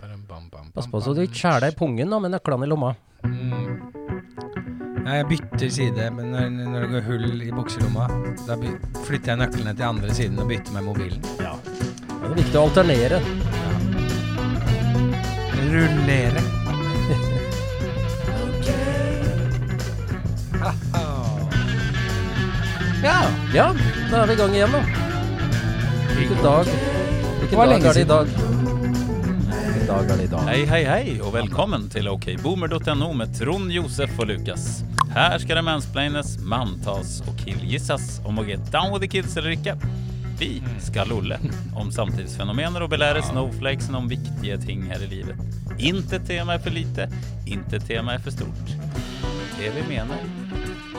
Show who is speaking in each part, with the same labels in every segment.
Speaker 1: Bam, bam,
Speaker 2: Pass
Speaker 1: bam,
Speaker 2: på så du
Speaker 1: bam.
Speaker 2: ikke skjærer deg i pungen da, med nøklene i lomma.
Speaker 1: Mm. Ja, Mm. jeg bytter side, men når, når det går hull i bukselomma, da by flytter jeg nøklene til andre siden og bytter med mobilen.
Speaker 2: Ja. Det er viktig å alternere.
Speaker 1: Rullere. Haha. ja.
Speaker 2: Ja, da er vi i gang igjen, da. Hvilken dag,
Speaker 1: Det
Speaker 2: hvilken
Speaker 1: var
Speaker 2: dag
Speaker 1: lenge
Speaker 2: er det i dag? Hvilken dag er det i dag?
Speaker 3: Hei, hei, hei, og velkommen til okboomer.no med Trond, Josef og Lukas. Her skal det mansplaines, manntas og killgissas om å get down with the kids eller ikke. Vi skal lolle om samtidsfenomener og belære snowflakesen om viktige ting her i livet. Inte tema er for lite, inte tema er for stort. Det vi mener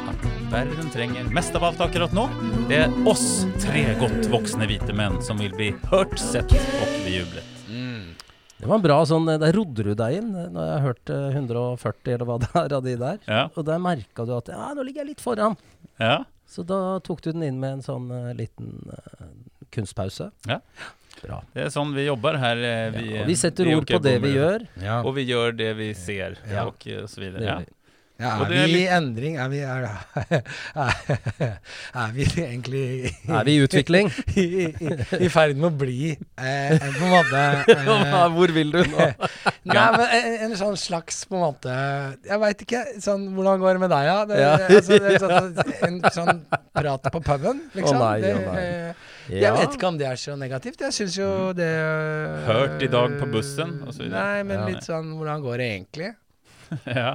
Speaker 3: at verden trenger mest av alt akkurat nå, det er oss tre godt voksne hvite menn som vil bli hørt, sett og bejublet. Mm.
Speaker 2: Det var en bra sånn eh, Der rodde du deg inn eh, når jeg hørte 140 eller hva det er av de der.
Speaker 3: Ja,
Speaker 2: Og der merka du at ja, nå ligger jeg litt foran.
Speaker 3: ja.
Speaker 2: Så da tok du den inn med en sånn eh, liten eh, kunstpause.
Speaker 3: Ja.
Speaker 2: Bra.
Speaker 3: Det er sånn vi jobber her. eh, Vi,
Speaker 2: og vi setter
Speaker 3: vi
Speaker 2: ord på
Speaker 3: åker
Speaker 2: det vi
Speaker 3: bommer.
Speaker 2: gjør.
Speaker 1: Ja.
Speaker 3: Og vi gjør det vi ser,
Speaker 1: Ja.
Speaker 3: og eh, så videre.
Speaker 2: Det
Speaker 3: Ja.
Speaker 2: gjør vi.
Speaker 1: ja,
Speaker 3: Og
Speaker 1: er
Speaker 3: det er
Speaker 1: vi i
Speaker 3: litt-
Speaker 1: endring? Er vi, er, er, er vi egentlig
Speaker 2: Er vi i utvikling?
Speaker 1: i, i, i ferd med å bli eh, på en måte eh,
Speaker 2: Hvor vil du nå?
Speaker 1: Nei, men en, en sånn slags på en måte Jeg veit ikke. Sånn, hvordan går det med deg, ja? Det,
Speaker 2: Ja.
Speaker 1: altså, det, er sånn, en sånn prat på puben, liksom.
Speaker 2: nei,
Speaker 1: det,
Speaker 2: å nei.
Speaker 1: eh,
Speaker 2: Ja. Mm.
Speaker 1: Jeg vet ikke om det er så negativt. Jeg syns jo det eh,
Speaker 3: Hørt i dag på bussen, og så videre.
Speaker 1: Nei, men
Speaker 2: Ja.
Speaker 1: litt sånn Hvordan går det egentlig?
Speaker 3: ja.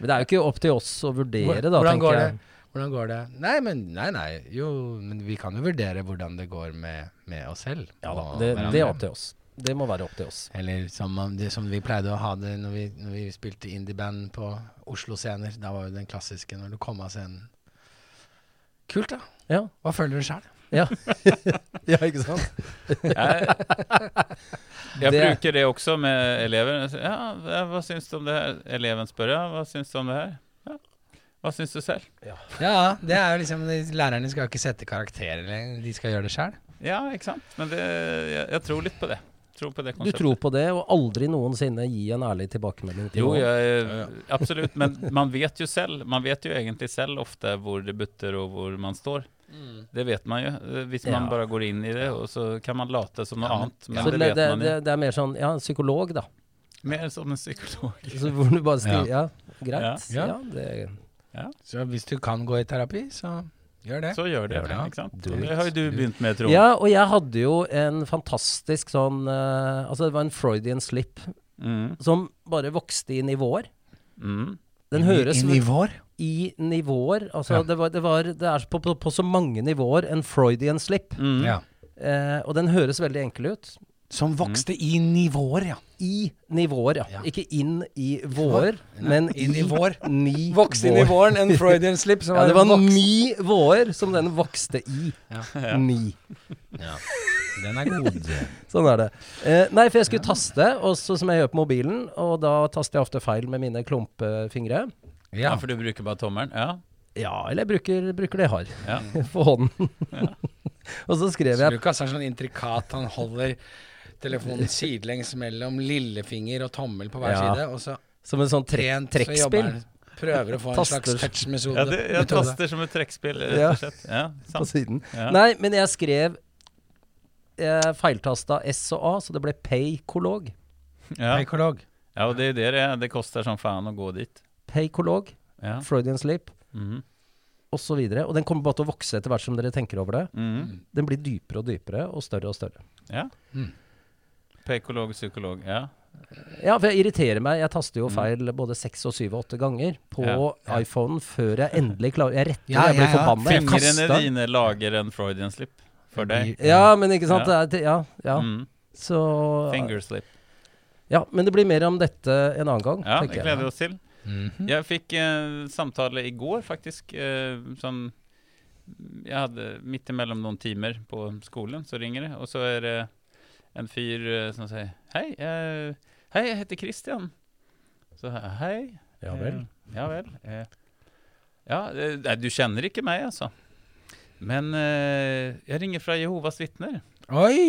Speaker 2: Men det er jo ikke opp til oss å vurdere, da,
Speaker 1: hvordan
Speaker 2: tenker
Speaker 1: går
Speaker 2: jeg.
Speaker 1: det? Hvordan går det? Nei, men nei, nei. Jo, men vi kan jo vurdere hvordan det går med, med oss selv.
Speaker 2: Ja da,
Speaker 1: og
Speaker 2: det, det
Speaker 1: hverandre.
Speaker 2: er opp til oss. Det må være opp til oss.
Speaker 1: Eller som, man- det, som vi pleide å ha det når vi, når vi spilte indieband på Oslo-scener. Da var jo den klassiske når du kom av scenen. Kult, da.
Speaker 2: Ja,
Speaker 1: Hva føler du sjøl?
Speaker 2: ja. ikke sant?
Speaker 3: Jeg, jeg
Speaker 2: Det-
Speaker 3: bruker det også med elever. Jeg sier, Ja, hva- hva syns du om det her? Eleven spør ja, hva syns du om det her? Ja. Hva syns du selv?
Speaker 1: Ja, det er jo liksom Lærerne skal ikke sette karakterer lenger, de skal gjøre det sjøl.
Speaker 3: Ja, ikke sant? Men det, jeg, jeg tror litt på det. Tror på det
Speaker 2: Du
Speaker 3: konseptet.
Speaker 2: tror på det, og aldri noensinne gi en ærlig tilbakemelding til
Speaker 3: Jo,
Speaker 2: noen.
Speaker 3: jeg, absolutt. Men man vet jo selv. Man vet jo egentlig selv ofte hvor det butter, og hvor man står.
Speaker 1: Mm.
Speaker 3: Det vet man jo, eh, hvis man
Speaker 2: Ja.
Speaker 3: bare går inn i det, og så kan man late som noe
Speaker 1: Ja, men-
Speaker 3: annet. Men
Speaker 2: Så
Speaker 3: det
Speaker 2: det,
Speaker 3: vet
Speaker 2: det,
Speaker 3: man
Speaker 2: det,
Speaker 3: jo.
Speaker 2: det er mer sånn ja, psykolog, da.
Speaker 3: Mer som sånn en psykolog.
Speaker 2: Så hvor du bare skriver ja, greit.
Speaker 1: Ja.
Speaker 2: Ja, det,
Speaker 1: Så hvis du kan gå i terapi, så gjør det.
Speaker 3: Så gjør det,
Speaker 1: Gjør det, ja.
Speaker 3: ikke sant?
Speaker 1: Do
Speaker 3: Det
Speaker 1: it.
Speaker 3: har jo du
Speaker 1: Do
Speaker 3: begynt med, Trond.
Speaker 2: ja, og jeg hadde jo en fantastisk sånn eh, Altså, det var en Freudian slip
Speaker 3: Mm.
Speaker 2: som bare vokste i nivåer.
Speaker 3: Mm.
Speaker 2: Den
Speaker 1: I,
Speaker 2: høres
Speaker 1: i nivåer.
Speaker 2: i nivåer. Altså,
Speaker 1: Ja.
Speaker 2: det, var, det, var, det er på, på, på så mange nivåer en Freudian slip.
Speaker 3: Mm.
Speaker 1: Ja.
Speaker 2: Eh, og den høres veldig enkel ut.
Speaker 1: Som vokste i nivåer, ja.
Speaker 2: I nivåer, ja.
Speaker 1: Ja.
Speaker 2: Ikke inn i vårer, men
Speaker 1: i nivåer.
Speaker 2: Ni
Speaker 1: Vokste i
Speaker 2: vår.
Speaker 1: nivåen, en Freudian slip som
Speaker 2: Ja, det var
Speaker 1: vokst.
Speaker 2: ni vårer som den vokste i.
Speaker 1: Ja.
Speaker 2: Ni.
Speaker 1: Ja. Den er god.
Speaker 2: Sånn er det. Eh, nei, for jeg skulle taste, og så som jeg gjør på mobilen, og da taster jeg ofte feil med mine klumpefingre.
Speaker 3: ja,
Speaker 1: Ja.
Speaker 3: for du bruker bare tommelen? Ja.
Speaker 2: Ja, eller jeg bruker, bruker det jeg har
Speaker 3: ja.
Speaker 2: for hånden. og så skrev
Speaker 1: Så
Speaker 2: jeg
Speaker 1: Lukas er sånn intrikat. Han holder telefonen sidelengs mellom lillefinger og tommel på hver
Speaker 2: Ja.
Speaker 1: side, og så
Speaker 2: som en sånn tre
Speaker 1: trent så jobber
Speaker 2: trekkspill.
Speaker 1: han. Prøver å få en
Speaker 2: Taster.
Speaker 1: slags touch-metode.
Speaker 3: ja det, jeg
Speaker 1: metode.
Speaker 3: taster som et trekkspill, rett
Speaker 2: Ja.
Speaker 3: og slett. Ja,
Speaker 2: på
Speaker 3: sant.
Speaker 2: siden.
Speaker 3: Ja.
Speaker 2: Nei, men jeg skrev eh, feiltasta S og A, så det ble paykolog.
Speaker 3: Ja.
Speaker 1: Psykolog.
Speaker 3: ja, og det er det det er. Det koster som faen å gå dit.
Speaker 2: Paykolog,
Speaker 3: Ja.
Speaker 2: Freudian slip
Speaker 3: Mhm.
Speaker 2: osv. Og den kommer bare til å vokse etter hvert som dere tenker over det.
Speaker 3: Mhm.
Speaker 2: Den blir dypere og dypere og større og større.
Speaker 3: ja.
Speaker 1: Mm.
Speaker 3: Pekolog, psykolog. Ja.
Speaker 2: Ja, for jeg irriterer meg. Jeg taster jo feil både seks og syv og åtte ganger på
Speaker 3: Mm. Ja.
Speaker 2: iPhonen før jeg endelig klarer Jeg retter,
Speaker 1: Ja,
Speaker 2: jeg
Speaker 1: ja,
Speaker 2: blir
Speaker 1: ja.
Speaker 2: forbanna. Jeg
Speaker 3: Fingrene
Speaker 2: kaster.
Speaker 3: dine lager en Freudian slip for deg.
Speaker 2: Ja, men ikke sant. det er- Ja, ja.
Speaker 3: Mm.
Speaker 2: Så
Speaker 3: Fingerslip.
Speaker 2: Ja, men det blir mer om dette en annen gang,
Speaker 3: Ja, det
Speaker 2: tenker jeg.
Speaker 3: gleder vi oss til.
Speaker 1: Mhm.
Speaker 3: Jeg fikk eh, samtale i går, faktisk. Eh, sånn Jeg hadde midt imellom noen timer på skolen, så ringer det, og så er det en fyr eh, som sier Hei, eh, hei, jeg heter Christian. Så jeg, hei.
Speaker 2: Ja vel.
Speaker 3: Eh, ja vel. Eh, ja, eh, nei, du kjenner ikke meg, altså. Men eh, jeg ringer fra Jehovas vitner.
Speaker 1: Oi!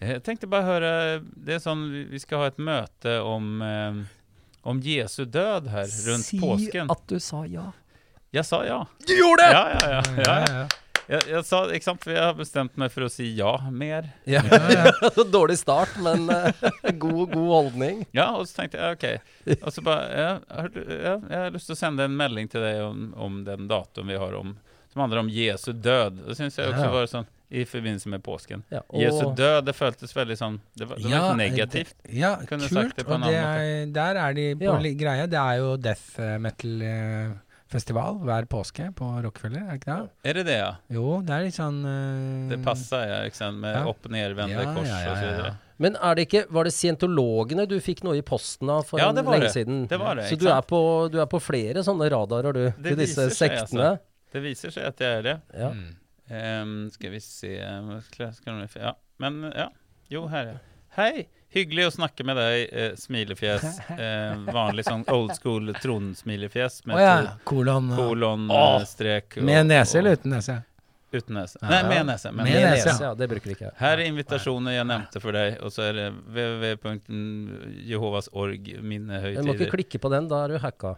Speaker 3: Jeg tenkte bare høre Det er sånn vi- Vi skal ha et møte om, eh, om Jesu død her rundt
Speaker 2: si
Speaker 3: påsken.
Speaker 2: at du sa ja.
Speaker 3: Jeg sa ja.
Speaker 2: Du gjorde
Speaker 3: Ja, ja, ja. ja, ja.
Speaker 1: ja.
Speaker 3: Jeg, jeg sa ikke sant, for jeg har bestemt meg for å si ja mer.
Speaker 2: Ja.
Speaker 1: ja.
Speaker 2: Dårlig start, men eh, god, god holdning.
Speaker 3: Ja, og så tenkte jeg ok. Og så bare ja, har du- ja, Jeg har lyst til å sende en melding til deg om, om den datum vi har om som handler om Jesu død. Det syns jeg også
Speaker 1: Ja.
Speaker 3: var sånn i forbindelse med påsken.
Speaker 2: Ja, og-
Speaker 3: Jesu død, det føltes veldig sånn Det var, det var litt negativt.
Speaker 1: Ja,
Speaker 3: Kunne sagt
Speaker 1: kult.
Speaker 3: det på en
Speaker 1: og det er,
Speaker 3: annen
Speaker 1: der er de på
Speaker 2: Ja.
Speaker 1: li- greia. Det er jo death eh, metal-festival hver påske på Rockefeller, er det ikke det?
Speaker 3: Er det det, ja?
Speaker 1: Jo, det er litt sånn eh,
Speaker 3: Det passer, ja, ikke sant? Med
Speaker 1: Ja.
Speaker 3: opp- nedvendte
Speaker 1: Ja,
Speaker 3: kors
Speaker 1: ja, ja,
Speaker 3: og så
Speaker 1: ja, ja.
Speaker 3: videre.
Speaker 2: Men er det ikke, var det scientologene du fikk noe i posten av for
Speaker 3: Ja,
Speaker 2: en
Speaker 3: det var
Speaker 2: lenge
Speaker 3: det.
Speaker 2: siden?
Speaker 3: Det var det,
Speaker 2: Så du
Speaker 3: ikke
Speaker 2: er,
Speaker 3: sant?
Speaker 2: på, du er på flere sånne radarer, du, til disse
Speaker 3: viser seg, altså.
Speaker 2: sektene?
Speaker 3: Det viser seg at jeg er det.
Speaker 2: Ja.
Speaker 1: Mm.
Speaker 3: Ehm, skal vi se hva skal- skal de- Ja, men ja. Jo, her ja. Hei! Hyggelig å snakke med deg, eh, smilefjes. Eh, vanlig sånn old school tronsmilefjes med
Speaker 1: Å ja.
Speaker 3: to-
Speaker 1: Kolon. og-
Speaker 3: kolon,
Speaker 1: Åh.
Speaker 3: eh, strek og-
Speaker 1: Med nese
Speaker 3: og-
Speaker 1: eller uten nese?
Speaker 3: Uten nese.
Speaker 1: Ja.
Speaker 3: Nei, med nese. men-
Speaker 1: Med
Speaker 2: Med
Speaker 1: nese,
Speaker 2: nese, ja. Det bruker ikke jeg.
Speaker 3: Her er invitasjoner jeg nevnte for deg, og så er det www.jehovasorg
Speaker 2: Du må ikke
Speaker 3: minnehøytider.
Speaker 2: klikke på den, da er du hacka.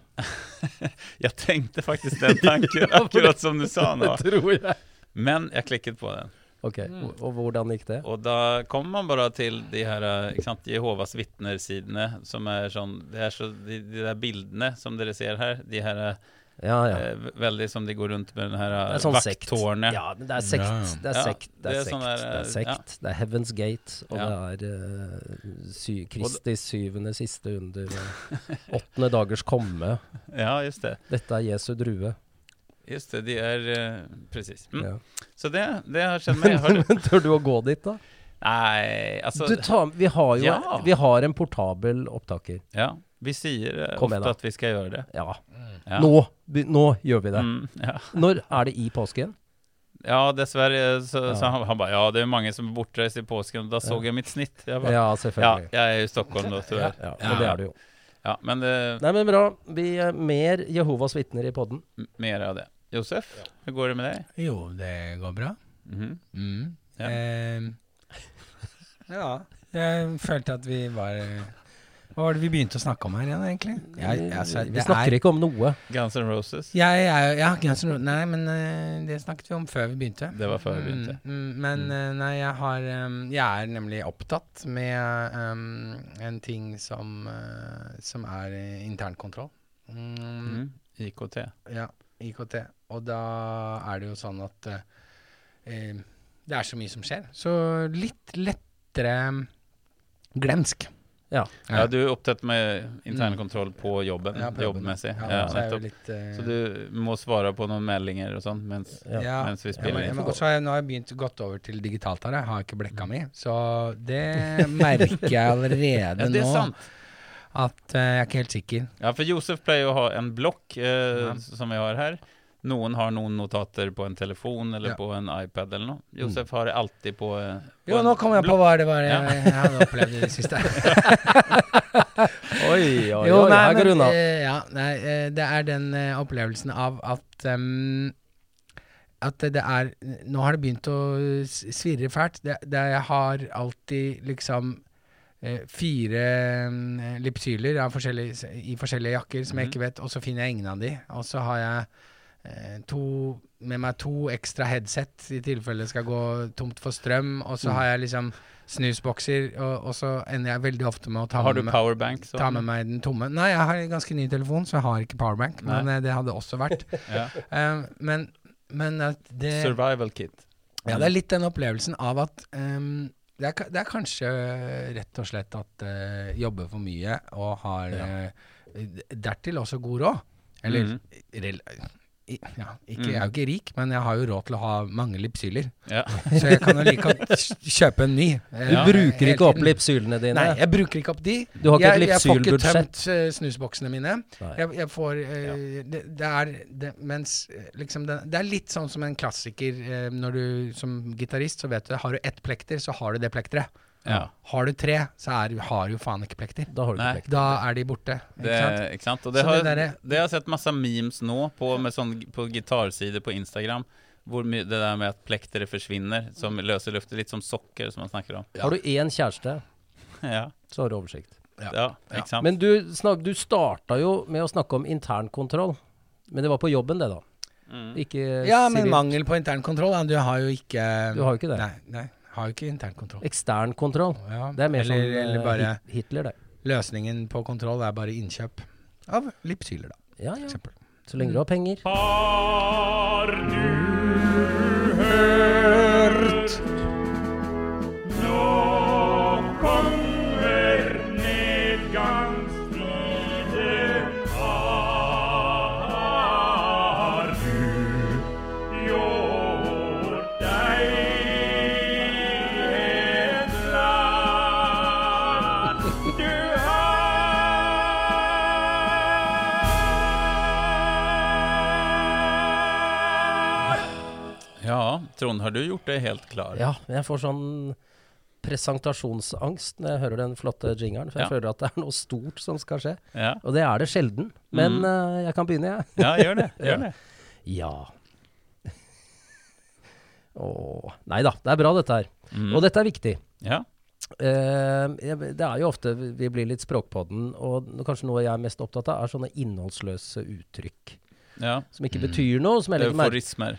Speaker 3: Jeg tenkte faktisk den tanken akkurat som du sa nå,
Speaker 2: tror jeg.
Speaker 3: men jeg klikket på den.
Speaker 2: Ok, og- og hvordan gikk det?
Speaker 3: Og da kommer man bare til de her eh, ikke sant, Jehovas vitner-sidene, som er sånn det er så, de, de der bildene som dere ser her, de her
Speaker 2: Ja, ja.
Speaker 3: eh, veldig som de går rundt med den her eh,
Speaker 2: Det er sånn sekt.
Speaker 3: vakttårnet.
Speaker 2: Ja, men det er sekt.
Speaker 1: Ja.
Speaker 2: Det er
Speaker 3: Ja,
Speaker 2: sekt. Det
Speaker 3: det
Speaker 2: er
Speaker 3: er
Speaker 2: sekt.
Speaker 3: sånn der,
Speaker 2: det er sekt.
Speaker 3: ja.
Speaker 2: Det er Heaven's Gate, og
Speaker 3: Ja.
Speaker 2: det er eh, sy Kristi syvende siste under og åttende dagers komme.
Speaker 3: Ja, just det.
Speaker 2: Dette er Jesu drue.
Speaker 3: Just det, de er uh, Presis. Mm.
Speaker 2: Ja.
Speaker 3: Så det, det har skjedd meg. Har du,
Speaker 2: Men tør du å gå dit, da?
Speaker 3: nei, altså
Speaker 2: Du tar, vi har jo
Speaker 3: Ja.
Speaker 2: vi har en portabel opptaker.
Speaker 3: Ja, vi sier eh,
Speaker 2: Kom
Speaker 3: ofte
Speaker 2: igjen, da.
Speaker 3: at vi skal gjøre det.
Speaker 2: Ja.
Speaker 3: Ja.
Speaker 2: Nå, be- nå gjør vi det.
Speaker 3: Mm, ja.
Speaker 2: Når er det i påsken?
Speaker 3: ja, dessverre. eh, Så,
Speaker 2: Ja.
Speaker 3: så han, han bare Ja, det er mange som er bortreist i påsken, og da så
Speaker 2: Ja.
Speaker 3: jeg mitt snitt. Jeg bare, ja,
Speaker 2: Ja, selvfølgelig.
Speaker 3: jeg er i Stockholm nå,
Speaker 2: Ja,
Speaker 3: tyvärr.
Speaker 2: men det er det jo.
Speaker 3: Ja, men eh, det,
Speaker 2: Nei, men bra. Vi er mer Jehovas vitner i podden.
Speaker 3: m- mer av det. Josef, hur går det med deg?
Speaker 1: Jo, det går bra.
Speaker 3: Mhm.
Speaker 1: Mm.
Speaker 3: Ja.
Speaker 1: Eh, ja. Jeg følte at vi var Hva var det vi begynte å snakke om her igjen, egentlig? Jeg, altså,
Speaker 2: vi
Speaker 1: det
Speaker 2: snakker
Speaker 1: er,
Speaker 2: ikke om noe.
Speaker 3: Guns N' Roses?
Speaker 1: Jeg, jeg, ja, Guns N' Roses. Nei, men eh, det snakket vi om før vi begynte.
Speaker 3: Det var før vi begynte.
Speaker 1: Mm, mm, men eh, nei, jeg har eh, Jeg er nemlig opptatt med eh, en ting som, eh, som er eh, internkontroll. Mm,
Speaker 3: Mhm. IKT.
Speaker 1: Ja, IKT. Og da er det jo sånn at eh, eh, det er så mye som skjer. Så litt lettere mm, glemsk. Ja. Mm.
Speaker 3: Ja, du er opptatt med internkontroll på jobben,
Speaker 1: Ja, på jobben.
Speaker 3: jobbmässig.
Speaker 1: Ja,
Speaker 3: Ja,
Speaker 1: så er jeg
Speaker 3: nettopp.
Speaker 1: jo litt eh,
Speaker 3: Så du må svare på noen meldinger og sånn mens,
Speaker 2: Ja.
Speaker 1: ja.
Speaker 3: mens vi
Speaker 1: Ja,
Speaker 3: spiller
Speaker 1: men,
Speaker 3: inn?
Speaker 1: men også har jeg, nå har jeg begynt gått over til digitalt her. Jeg har ikke
Speaker 3: Mm.
Speaker 1: blekka mi. Så det merker jeg allerede
Speaker 3: Ja, det er
Speaker 1: nå.
Speaker 3: sant.
Speaker 1: At eh, jeg er ikke helt sikker.
Speaker 3: Ja, for Josef pleier å ha en blokk eh,
Speaker 1: Ja.
Speaker 3: s- som vi har her. Noen har noen notater på en telefon eller
Speaker 1: Ja. Mm.
Speaker 3: på en iPad eller noe. Josef har det alltid på, eh, på
Speaker 1: Jo,
Speaker 3: en
Speaker 1: nå kom jeg på
Speaker 3: blokk.
Speaker 1: hva det var jeg,
Speaker 3: Ja.
Speaker 1: jeg hadde opplevd i det siste.
Speaker 2: Oi, oi,
Speaker 1: Jo,
Speaker 2: oi,
Speaker 1: nei,
Speaker 2: her går
Speaker 1: men,
Speaker 2: unna.
Speaker 1: eh, ja, nei, eh, det er den eh, opplevelsen av at em, At det er Nå har det begynt å s- svirre fælt. Det, det, jeg har alltid liksom eh, fire em, lipsyler av forskjellige, s- i forskjellige jakker som jeg
Speaker 3: Mhm.
Speaker 1: ikke vet, og så finner jeg ingen av de. Og så har jeg eh, to med meg to ekstra headset i tilfelle det skal gå tomt for strøm, og
Speaker 3: Mm.
Speaker 1: så har jeg liksom snusbokser, og, og så ender jeg veldig ofte med å ta
Speaker 3: Har du
Speaker 1: med
Speaker 3: powerbank? Så?
Speaker 1: Ta med meg den tomme. Nei, jeg har en ganske ny telefon, så jeg har ikke powerbank. Men eh, det hadde også vært.
Speaker 3: Ja.
Speaker 1: Eh, men men at det,
Speaker 3: Survival kit.
Speaker 1: ja, det er litt den opplevelsen av at ehm, det, er, ka- det er kanskje rett og slett at uh, jobber for mye og har eh, d- dertil også god råd. Eller
Speaker 3: Mhm.
Speaker 1: rel i, ja, ikke,
Speaker 3: Mhm.
Speaker 1: Jeg er jo ikke rik, men jeg har jo råd til å ha mange lipsyler.
Speaker 3: Ja.
Speaker 1: Så jeg kan jo like godt kj- kjøpe en ny. eh,
Speaker 2: Du
Speaker 3: Ja.
Speaker 2: bruker
Speaker 1: hele
Speaker 2: ikke opp
Speaker 1: tiden.
Speaker 2: lipsylene dine.
Speaker 1: Nei, jeg bruker ikke opp de.
Speaker 2: Du har ikke
Speaker 1: jeg,
Speaker 2: et
Speaker 1: jeg får ikke
Speaker 2: livsstilbudsjett.
Speaker 1: tømt eh, snusboksene mine.
Speaker 2: Nei.
Speaker 1: Jeg, jeg får eh, det, det er det, mens eh, liksom det, det er litt sånn som en klassiker eh, når du som gitarist, så vet du Har du ett plekter, så har du det plekteret.
Speaker 3: Ja.
Speaker 1: Har du tre, så er, har du jo faen ikke plekter.
Speaker 2: Da har du
Speaker 3: Nei.
Speaker 2: ikke plekt.
Speaker 1: Da er de borte. Ikke
Speaker 3: Det,
Speaker 1: sant?
Speaker 3: ikke sant? Og det
Speaker 1: Så
Speaker 3: har,
Speaker 1: det der er-
Speaker 3: det har jeg sett masse memes nå på, med sånn, på gitarsider på Instagram. Hvor mye, det der med at plekteret forsvinner, som løser luften, litt som sokker som man snakker om.
Speaker 2: Har du én kjæreste,
Speaker 3: Ja,
Speaker 2: så har du oversikt.
Speaker 3: ja,
Speaker 1: Ja.
Speaker 3: ikke sant?
Speaker 2: Men du, snak, du starta jo med å snakke om internkontroll. Men det var på jobben, det, da. Ikke
Speaker 1: Ja, men
Speaker 2: sivil-
Speaker 1: mangel på internkontroll. da. Du har jo ikke
Speaker 2: Eh, Du har jo ikke det.
Speaker 1: Nei, nei har jo ikke internkontroll.
Speaker 2: Ekstern kontroll.
Speaker 1: Ja,
Speaker 2: Det er mer
Speaker 1: eller,
Speaker 2: som eh,
Speaker 1: eller bare
Speaker 2: Hit- Hitler, det.
Speaker 1: Løsningen på kontroll er bare innkjøp av Lipsyler, da,
Speaker 2: Ja,
Speaker 1: for
Speaker 2: ja.
Speaker 1: eksempel.
Speaker 2: Så lenge du har penger.
Speaker 4: Har du hørt? Nå kommer nedgangstider. Har du gjort deg et land? Du har
Speaker 3: Ja, Trond, har du gjort deg helt klar?
Speaker 2: Ja, men jeg får sånn presentasjonsangst når jeg hører den flotte jingeren. For jeg
Speaker 3: Ja.
Speaker 2: føler at det er noe stort som skal skje.
Speaker 3: Ja,
Speaker 2: Og det er det sjelden. Men eh, jeg kan begynne, jeg.
Speaker 3: ja gjør det. Gjør det.
Speaker 2: Ja. Åh. Nei da, det er bra dette her. Og dette er viktig.
Speaker 3: Ja.
Speaker 2: Eh, jeg- det er jo ofte vi- vi blir litt språkpodden, og n- kanskje noe jeg er mest opptatt av, er sånne innholdsløse uttrykk.
Speaker 3: ja.
Speaker 2: Som ikke betyr noe. Som jeg legger merke
Speaker 3: Euforismer.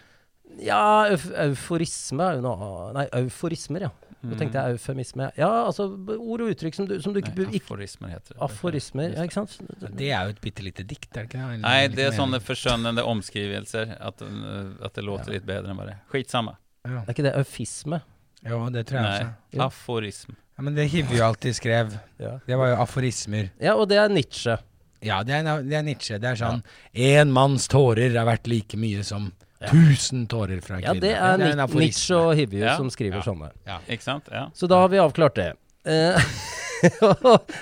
Speaker 2: Ja, euf euforisme er jo noe annet. Nei, euforismer, ja. Nå tenkte jeg eufemisme. Ja, altså b- ord og uttrykk som du, som du ikke,
Speaker 3: Mm. Nei,
Speaker 2: bu- ikke
Speaker 3: aforismer heter det.
Speaker 2: Aforismer, ja, ikke sant?
Speaker 1: Det er jo et bitte lite dikt, er det ikke det? Eller
Speaker 3: Nei,
Speaker 1: ikke
Speaker 3: det er
Speaker 1: meningen?
Speaker 3: sånne forskjønnende omskrivelser. At, den, eh, at det låter litt bedre enn bare Skitsamme.
Speaker 1: Ja.
Speaker 2: Er ikke det eufisme?
Speaker 1: Jo, det tror jeg
Speaker 3: Nei.
Speaker 1: også.
Speaker 2: Jo.
Speaker 3: Aforism.
Speaker 1: Ja, men det Hivju alltid skrev,
Speaker 2: Ja.
Speaker 1: det var jo aforismer.
Speaker 2: ja, og det er Nietzsche.
Speaker 1: Ja, det er, det er Nietzsche. Det er sånn En manns tårer er verdt like mye som tusen tårer fra en
Speaker 2: Ja,
Speaker 1: kvinne.
Speaker 2: det er,
Speaker 1: en
Speaker 2: Ni-
Speaker 1: aforisme.
Speaker 2: Nietzsche og Hivju
Speaker 3: Ja,
Speaker 2: som skriver
Speaker 3: ja.
Speaker 2: sånne.
Speaker 3: Ikke sant? Ja.
Speaker 2: Så da har vi avklart det. Eh,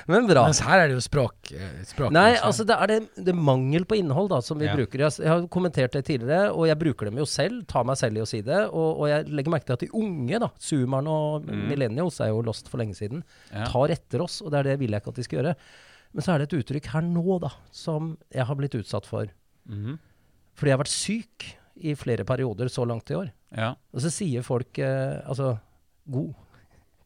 Speaker 2: Men bra.
Speaker 1: Mens her er det jo språk... eh, språk
Speaker 2: Nei, altså det er det, det er mangel på innhold da, som vi
Speaker 1: Ja.
Speaker 2: bruker. Jeg, s- jeg har kommentert det tidligere, og jeg bruker dem jo selv. Tar meg selv i å si det. Og, og jeg legger merke til at de unge, da, zoomerne og millennials, er jo lost for lenge siden,
Speaker 3: Ja.
Speaker 2: tar etter oss. Og det er det vil jeg ikke at de skal gjøre. Men så er det et uttrykk her nå da, som jeg har blitt utsatt for.
Speaker 3: Mhm.
Speaker 2: Fordi jeg har vært syk i flere perioder så langt i år.
Speaker 3: ja.
Speaker 2: Og så sier folk eh, altså god,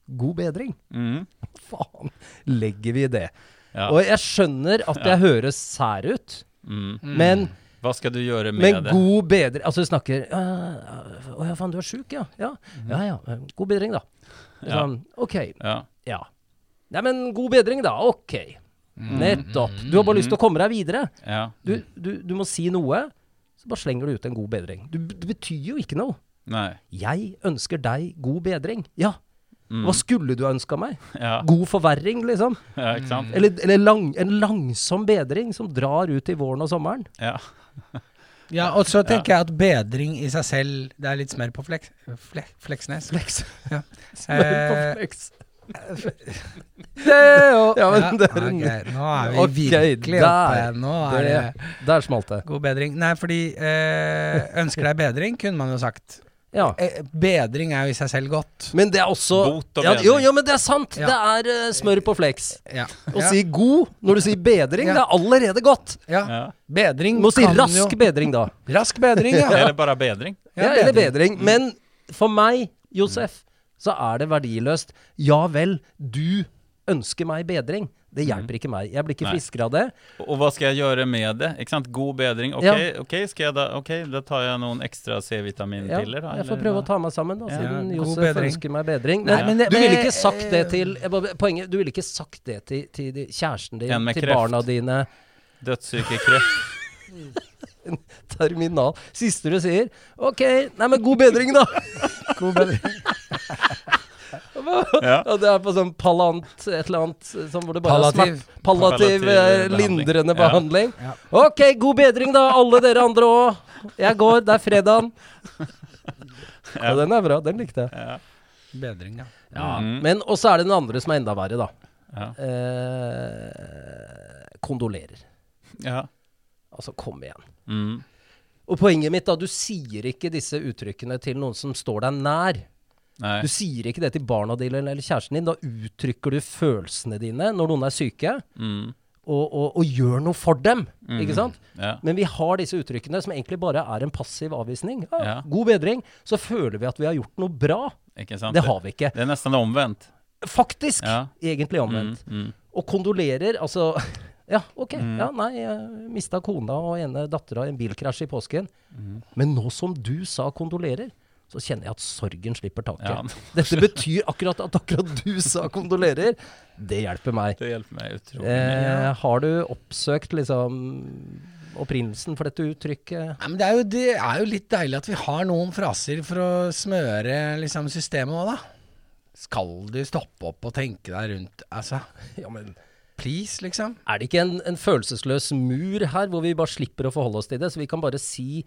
Speaker 2: god bedring.
Speaker 3: Mhm.
Speaker 2: Faen, legger vi i det?
Speaker 3: Ja.
Speaker 2: Og jeg skjønner at jeg høres sær ut.
Speaker 3: Mhm.
Speaker 2: Men,
Speaker 3: Hva skal du gjøre med
Speaker 2: men
Speaker 3: det?
Speaker 2: god bedring Altså, du snakker «Ja, ja, Å ja, faen, du er sjuk, ja. Ja. ja ja. eh, God bedring, da.
Speaker 3: Mm. Ja.
Speaker 2: Sånn, OK.
Speaker 3: Ja.
Speaker 2: Ja. Nei, men god bedring, da. OK.
Speaker 3: Mm.
Speaker 2: Nettopp. Du har bare lyst til å komme deg videre.
Speaker 3: ja.
Speaker 2: Du, du, du må si noe, så bare slenger du ut en god bedring. Du, det betyr jo ikke noe.
Speaker 3: Nei.
Speaker 2: Jeg ønsker deg god bedring. Ja. Hva skulle du ha ønska meg?
Speaker 3: Mm. Ja.
Speaker 2: God forverring, liksom?
Speaker 3: ja, ikke sant?
Speaker 2: Eller, eller lang, en langsom bedring som drar ut i våren og sommeren?
Speaker 3: Ja.
Speaker 1: Ja, og så tenker jeg at bedring i seg selv Det er litt smør på fleks, fle, Fleksnes. Fleks. Ja. Eh,
Speaker 2: Ja, men
Speaker 1: ja, Ah,
Speaker 2: dere-
Speaker 1: ok, Nå er vi
Speaker 2: Ok,
Speaker 1: virkelig
Speaker 2: der.
Speaker 1: oppe. Nå er det,
Speaker 2: Det- Der smalt det.
Speaker 1: god bedring. Nei, fordi eh, ønsker deg bedring, kunne man jo sagt.
Speaker 2: Ja.
Speaker 1: Eh, bedring er jo i seg selv godt.
Speaker 2: Men det er også
Speaker 3: Bot og
Speaker 2: ja,
Speaker 3: bedring.
Speaker 2: Jo, jo, men det er sant!
Speaker 1: Ja.
Speaker 2: Det er eh, smør på fleks.
Speaker 1: Ja.
Speaker 2: Å
Speaker 1: ja.
Speaker 2: si god når du sier bedring,
Speaker 1: Ja.
Speaker 2: det er allerede godt.
Speaker 1: ja.
Speaker 3: Ja.
Speaker 1: Bedring
Speaker 2: Du må si
Speaker 1: kan
Speaker 2: rask
Speaker 1: jo
Speaker 2: bedring, da.
Speaker 1: Rask bedring, ja.
Speaker 3: Eller bare bedring.
Speaker 2: Ja, eller bedring.
Speaker 1: Mm.
Speaker 2: Men for meg, Josef, så er det verdiløst. Ja vel, du ønsker meg bedring. Det hjelper ikke meg. Jeg blir ikke
Speaker 3: Mm. Nei.
Speaker 2: friskere av det.
Speaker 3: Og hva skal jeg gjøre med det? Ikke sant? God bedring. Ok,
Speaker 2: Ja.
Speaker 3: ok, skal jeg da, ok, da tar jeg noen ekstra
Speaker 2: Ja,
Speaker 3: C-vitaminpiller, da.
Speaker 2: jeg får
Speaker 3: eller
Speaker 2: prøve
Speaker 3: hva?
Speaker 2: å ta meg sammen, da, siden
Speaker 1: god
Speaker 2: Josef
Speaker 1: bedring.
Speaker 2: ønsker meg bedring.
Speaker 1: Nei,
Speaker 2: Men,
Speaker 1: men det-
Speaker 2: du ville
Speaker 1: men-
Speaker 2: ikke sagt det til jeg bare- Poenget, du ville ikke sagt det til, til de- kjæresten din,
Speaker 3: En med
Speaker 2: til
Speaker 3: kreft.
Speaker 2: barna dine.
Speaker 3: Dødssyke kreft.
Speaker 2: Terminal. Siste du sier OK, nei, men god bedring, da.
Speaker 1: God bedring.
Speaker 3: Ja.
Speaker 2: Og det er på sånn palant et eller annet eh, sånn hvor det bare er
Speaker 1: Palliativ.
Speaker 2: smert- Palliativ,
Speaker 3: Palliativ
Speaker 2: eh,
Speaker 3: behandling.
Speaker 2: lindrende
Speaker 3: Ja.
Speaker 2: behandling. OK, god bedring, da, alle dere andre òg. Jeg går, det er fredagen. Ja, den er bra. Den likte jeg.
Speaker 1: Bedring, ja.
Speaker 2: Ja,
Speaker 3: Mhm.
Speaker 2: Men og så er det den andre som er enda verre, da.
Speaker 3: Ja.
Speaker 2: Eh, kondolerer.
Speaker 3: Ja.
Speaker 2: Altså, kom igjen.
Speaker 3: Mm.
Speaker 2: Og poenget mitt, da, du sier ikke disse uttrykkene til noen som står deg nær.
Speaker 3: Nei.
Speaker 2: Du sier ikke det til barna dine eller eller kjæresten din. Da uttrykker du følelsene dine når noen er syke,
Speaker 3: Mm.
Speaker 2: og, og, og gjør noe for dem.
Speaker 3: Mhm.
Speaker 2: Ikke sant?
Speaker 3: Ja.
Speaker 2: Men vi har disse uttrykkene som egentlig bare er en passiv avvisning. Ja,
Speaker 3: Ja.
Speaker 2: God bedring. Så føler vi at vi har gjort noe bra.
Speaker 3: Ikke sant?
Speaker 2: Det har vi ikke.
Speaker 3: Det er nesten omvendt.
Speaker 2: Faktisk!
Speaker 3: Ja.
Speaker 2: Egentlig omvendt.
Speaker 3: Mm.
Speaker 2: Og kondolerer, altså Ja, OK.
Speaker 3: Mhm.
Speaker 2: Ja, nei, jeg mista kona og ene dattera i en bilkrasj i påsken.
Speaker 3: Mhm.
Speaker 2: Men nå som du sa kondolerer, så kjenner jeg at sorgen slipper taket.
Speaker 3: Ja.
Speaker 2: Dette betyr akkurat at akkurat du sa kondolerer. Det hjelper meg.
Speaker 3: Det hjelper meg utrolig mye.
Speaker 2: Eh, har du oppsøkt liksom opprinnelsen for dette uttrykket?
Speaker 1: Ja, men det, er jo, det er jo litt deilig at vi har noen fraser for å smøre liksom, systemet òg, da. Skal du stoppe opp og tenke deg rundt Altså,
Speaker 2: Ja, men
Speaker 1: please, liksom.
Speaker 2: Er det ikke en, en følelsesløs mur her, hvor vi bare slipper å forholde oss til det? Så vi kan bare si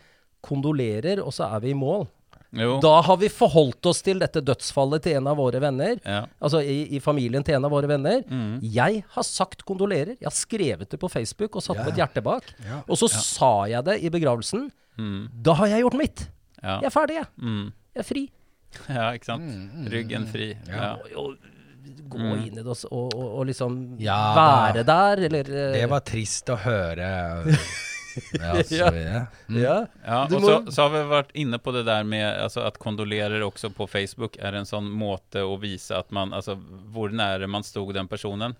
Speaker 2: kondolerer, og så er vi i mål.
Speaker 3: Jo.
Speaker 2: Eh, Da har vi forholdt oss til dette dødsfallet til en av våre venner.
Speaker 3: Ja.
Speaker 2: Altså i, i familien til en av våre venner. Jeg har sagt kondolerer. Jeg har skrevet det på Facebook og satt på et hjerte bak. Og så sa jeg det i begravelsen. Da har jeg gjort mitt.
Speaker 3: Ja.
Speaker 2: Jeg er ferdig, jeg.
Speaker 3: Mm.
Speaker 2: Jeg er fri.
Speaker 3: ja, ikke sant? Ryggen fri. Ja.
Speaker 2: Og, og gå inn i det og, s- og, og, og liksom
Speaker 1: Ja,
Speaker 2: være der, eller eh,
Speaker 1: Det var trist å høre. Ja, så videre.
Speaker 2: ja.
Speaker 3: Ja,
Speaker 2: Du
Speaker 3: og
Speaker 2: må-
Speaker 3: så, så har vi vært inne på det der med altså, at kondolerer også på Facebook er en sånn måte å vise at man, altså hvor nære man stod den personen.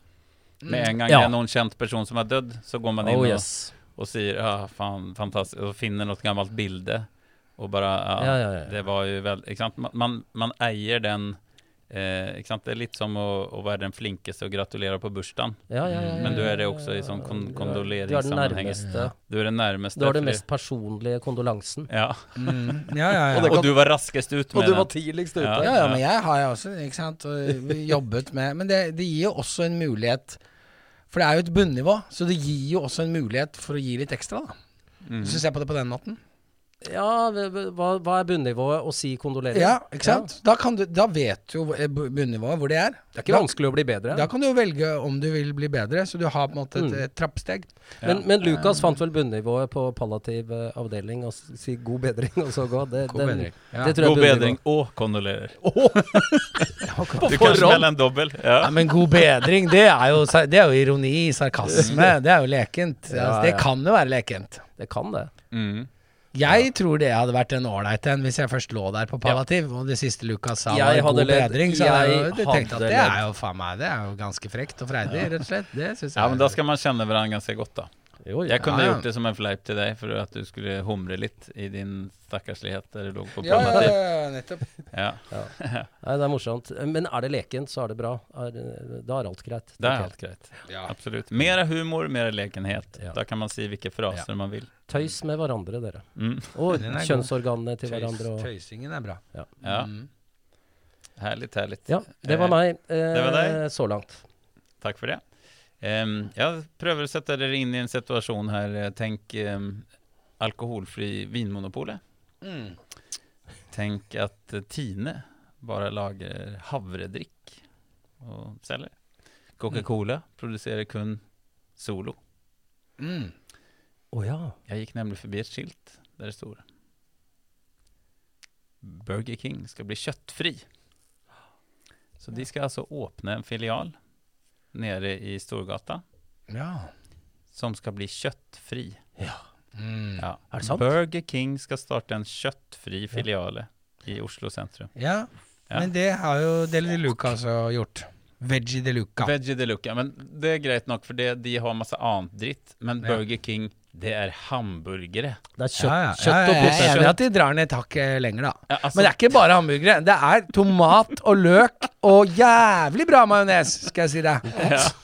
Speaker 3: Med en gang
Speaker 2: Mm. Ja.
Speaker 3: det er noen kjent person som er dødd, så går man inn
Speaker 2: Oh
Speaker 3: og,
Speaker 2: yes.
Speaker 3: og sier ja, "Ah, fan, fantastisk, og finner noe gammelt bilde. Og bare ja,
Speaker 2: Ja, ja, ja.
Speaker 3: Det var jo vel, ikke sant? Man, man, man eier den eh, ikke sant? Det er litt som å, å være den flinkeste og gratulere på bursdagen.
Speaker 2: Ja, ja, ja, ja,
Speaker 3: Men du er det
Speaker 2: ja,
Speaker 3: også i
Speaker 2: ja,
Speaker 3: sånn
Speaker 2: ja.
Speaker 3: kon-
Speaker 2: Du er- Du er den
Speaker 3: kondoleringssammenheng.
Speaker 2: nærmeste.
Speaker 3: Du er den nærmeste.
Speaker 2: Du har den
Speaker 3: fordi-
Speaker 2: mest personlige kondolansen.
Speaker 3: Ja.
Speaker 1: Mm. Ja, ja, ja.
Speaker 3: Og du var raskest ut med den.
Speaker 2: tidligst
Speaker 3: ute.
Speaker 1: Ja, ja, men jeg har jo også ikke sant, og vi jobbet med Men det, det gir jo også en mulighet For det er jo et bunnivå, så det gir jo også en mulighet for å gi litt ekstra, da. Hvis du ser på det på den måten.
Speaker 2: Ja, v- v- hva, hva er bunnivået å si kondolerer?
Speaker 1: Ja, ikke sant? Da, kan du, da vet du jo hvor- eh, bu- bunnivået, hvor det er.
Speaker 2: Det er ikke vanskelig å bli bedre.
Speaker 1: Da, da kan du jo velge om du vil bli bedre, så du har på en måte et,
Speaker 2: Mm.
Speaker 1: et trappsteg.
Speaker 2: men, men Lukas fant vel bunnivået på palliativ eh, avdeling og s- si god bedring og så gå. Det,
Speaker 1: God
Speaker 2: den-
Speaker 1: bedring. Ja.
Speaker 2: Det tror jeg
Speaker 3: God
Speaker 2: er
Speaker 3: bedring
Speaker 2: bunnivået.
Speaker 3: og kondolerer.
Speaker 2: På
Speaker 3: Du kan
Speaker 2: forhånd!
Speaker 3: smelle en dobbel. Ja.
Speaker 1: Ja, men god bedring, det er jo, sa- det er jo ironi, sarkasme. Det er jo lekent.
Speaker 2: Ja,
Speaker 1: Altså, det
Speaker 2: ja.
Speaker 1: kan jo være lekent.
Speaker 2: Det kan det.
Speaker 3: Mm.
Speaker 1: Jeg tror det hadde vært en ålreit en hvis jeg først lå der på palliativ, og det siste Lukas sa
Speaker 2: Jeg
Speaker 1: var god
Speaker 2: hadde ledd.
Speaker 1: bedring. Så hadde jeg
Speaker 2: Jeg
Speaker 1: jo tenkt at
Speaker 2: hadde
Speaker 1: det er
Speaker 2: ledd.
Speaker 1: jo faen meg, det er jo ganske frekt og freidig, rett og slett. Det syns jeg.
Speaker 3: ja, men da skal man kjenne hverandre ganske godt, da.
Speaker 2: Jo,
Speaker 3: Jeg kunne
Speaker 1: Ja, ja.
Speaker 3: gjort det som en fleip til deg for at du skulle humre litt i din stakkarslighet der du lå på
Speaker 1: ja, ja,
Speaker 3: primitiv.
Speaker 1: ja, nettopp.
Speaker 3: Ja,
Speaker 2: Nei, det er morsomt. Men er det lekent, så er det bra. Er, eh, da er alt greit. tenker
Speaker 3: det er
Speaker 2: jeg.
Speaker 3: helt greit.
Speaker 1: Ja.
Speaker 3: Absolutt. Mera humor, mera lekenhet.
Speaker 2: Ja.
Speaker 3: Da kan man si hvilke fraser man vil.
Speaker 2: Tøys med hverandre, dere.
Speaker 3: Mm.
Speaker 2: Og
Speaker 1: Den er god.
Speaker 2: kjønnsorganene til
Speaker 1: Tøys,
Speaker 2: hverandre. Og,
Speaker 1: tøysingen er bra.
Speaker 3: Ja.
Speaker 1: Mm.
Speaker 3: Herlig, herlig.
Speaker 2: ja, det var meg eh,
Speaker 3: var deg.
Speaker 2: så langt.
Speaker 3: Takk for det. Ehm, jeg prøver å sette dere inn i en situasjon her. Tenk ehm, alkoholfri Vinmonopolet.
Speaker 1: Mm.
Speaker 3: Tenk at eh, Tine bare lager havredrikk og selger. Coca-Cola
Speaker 2: Mm.
Speaker 3: produserer kun Solo.
Speaker 1: Mm.
Speaker 2: Å ja.
Speaker 3: Jeg gikk nemlig forbi et skilt der det stod Burger King skal bli kjøttfri. Så de skal altså åpne en filial nede i Storgata
Speaker 1: Ja.
Speaker 3: som skal bli kjøttfri.
Speaker 1: Mm.
Speaker 3: Ja.
Speaker 2: Er det sant?
Speaker 3: Burger King skal starte en kjøttfri filiale i Oslo sentrum.
Speaker 1: ja.
Speaker 3: Ja.
Speaker 1: Men det har jo Deli de Luca også gjort. Veggie de Luca.
Speaker 3: Veggie de Luca. Men det er greit nok, for det, de har masse annet dritt. Men
Speaker 1: Ja.
Speaker 3: Burger King, det er hamburgere.
Speaker 2: Det er kjøtt,
Speaker 1: Ja, ja. Ja,
Speaker 2: kjøtt og
Speaker 1: ja, jeg er
Speaker 2: potet.
Speaker 1: enig i at de drar ned et hakk eh, lenger, da.
Speaker 3: Ja, altså-
Speaker 1: Men det er ikke bare hamburgere. Det er tomat og løk og jævlig bra majones, skal jeg si deg.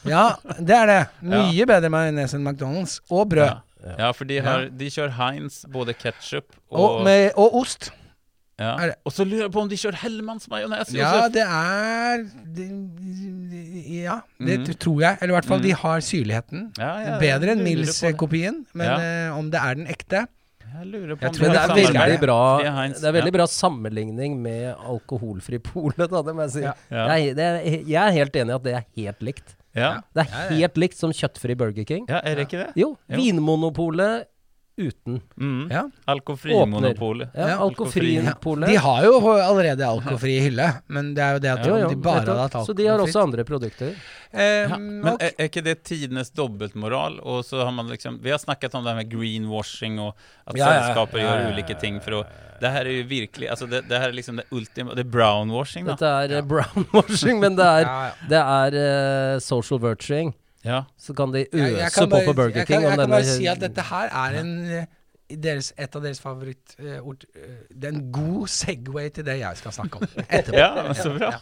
Speaker 1: Ja. det er det. Mye bedre majones enn McDonald's. Og brød.
Speaker 3: Ja, ja for de, har, de kjør Heinz, både ketchup og
Speaker 1: Og, med, og ost.
Speaker 3: ja.
Speaker 1: er det-
Speaker 3: Og så lurer jeg på om de kjører Hellmanns majones.
Speaker 1: Ja,
Speaker 3: Josef.
Speaker 1: det er det- Ja, det tr- tror jeg. Eller i hvert fall, de har syrligheten.
Speaker 3: Ja, ja, jeg
Speaker 1: Bedre enn
Speaker 3: lurer på det.
Speaker 1: Mills-kopien, men
Speaker 3: Ja.
Speaker 1: eh, om det er den ekte
Speaker 3: Jeg lurer
Speaker 1: eh,
Speaker 3: på
Speaker 1: Jeg
Speaker 3: om
Speaker 1: tror
Speaker 3: de
Speaker 2: Men det
Speaker 3: har
Speaker 2: er
Speaker 1: Samarbeid.
Speaker 2: veldig
Speaker 3: samarbeid.
Speaker 2: bra,
Speaker 3: Det er Heinz,
Speaker 2: det er veldig
Speaker 3: ja.
Speaker 2: bra sammenligning med alkoholfri polet, da, det må jeg si.
Speaker 1: Ja.
Speaker 3: Ja.
Speaker 2: Jeg, det er, jeg er helt enig i at det er helt likt.
Speaker 3: Ja.
Speaker 2: Det er helt likt som kjøttfri Burger King.
Speaker 3: ja, er det ikke det?
Speaker 2: Jo, Vinmonopolet uten.
Speaker 3: Mm.
Speaker 1: Ja.
Speaker 3: Alkofrimonopolet.
Speaker 2: Ja, Alkofri-polet.
Speaker 1: De har jo allerede alkofri i hylle, men det er jo det at
Speaker 2: Jo, jo,
Speaker 1: om de
Speaker 2: nettopp.
Speaker 1: bare hadde hatt Ehm, alkofri
Speaker 2: Så de har også andre produkter.
Speaker 1: Mm,
Speaker 3: Men eh, är, är inte det tidernas dubbelmoral? Och så har man liksom, vi har snackat om det här med greenwashing och att
Speaker 1: Ja, ja,
Speaker 3: sällskapen
Speaker 1: ja, ja,
Speaker 3: gör
Speaker 1: ja,
Speaker 3: olika ting för att det här är ju verkligen, alltså det, det här är liksom det ultima, det är brownwashing då.
Speaker 2: Dette er eh, brownwashing, men det er,
Speaker 1: Ja,
Speaker 2: det er eh, social virtuing.
Speaker 3: Ja.
Speaker 2: Så kan de
Speaker 1: Jeg- jeg
Speaker 2: øse
Speaker 1: kan
Speaker 2: på
Speaker 1: bare-
Speaker 2: på Burger
Speaker 1: jeg
Speaker 2: King
Speaker 1: Kan, jeg
Speaker 2: om
Speaker 1: kan
Speaker 2: denne
Speaker 1: bare si at dette her er en, eh, deres, et av deres favorittord eh, Det er en god Segway til det jeg skal snakke om etterpå.
Speaker 3: Ja, men så bra.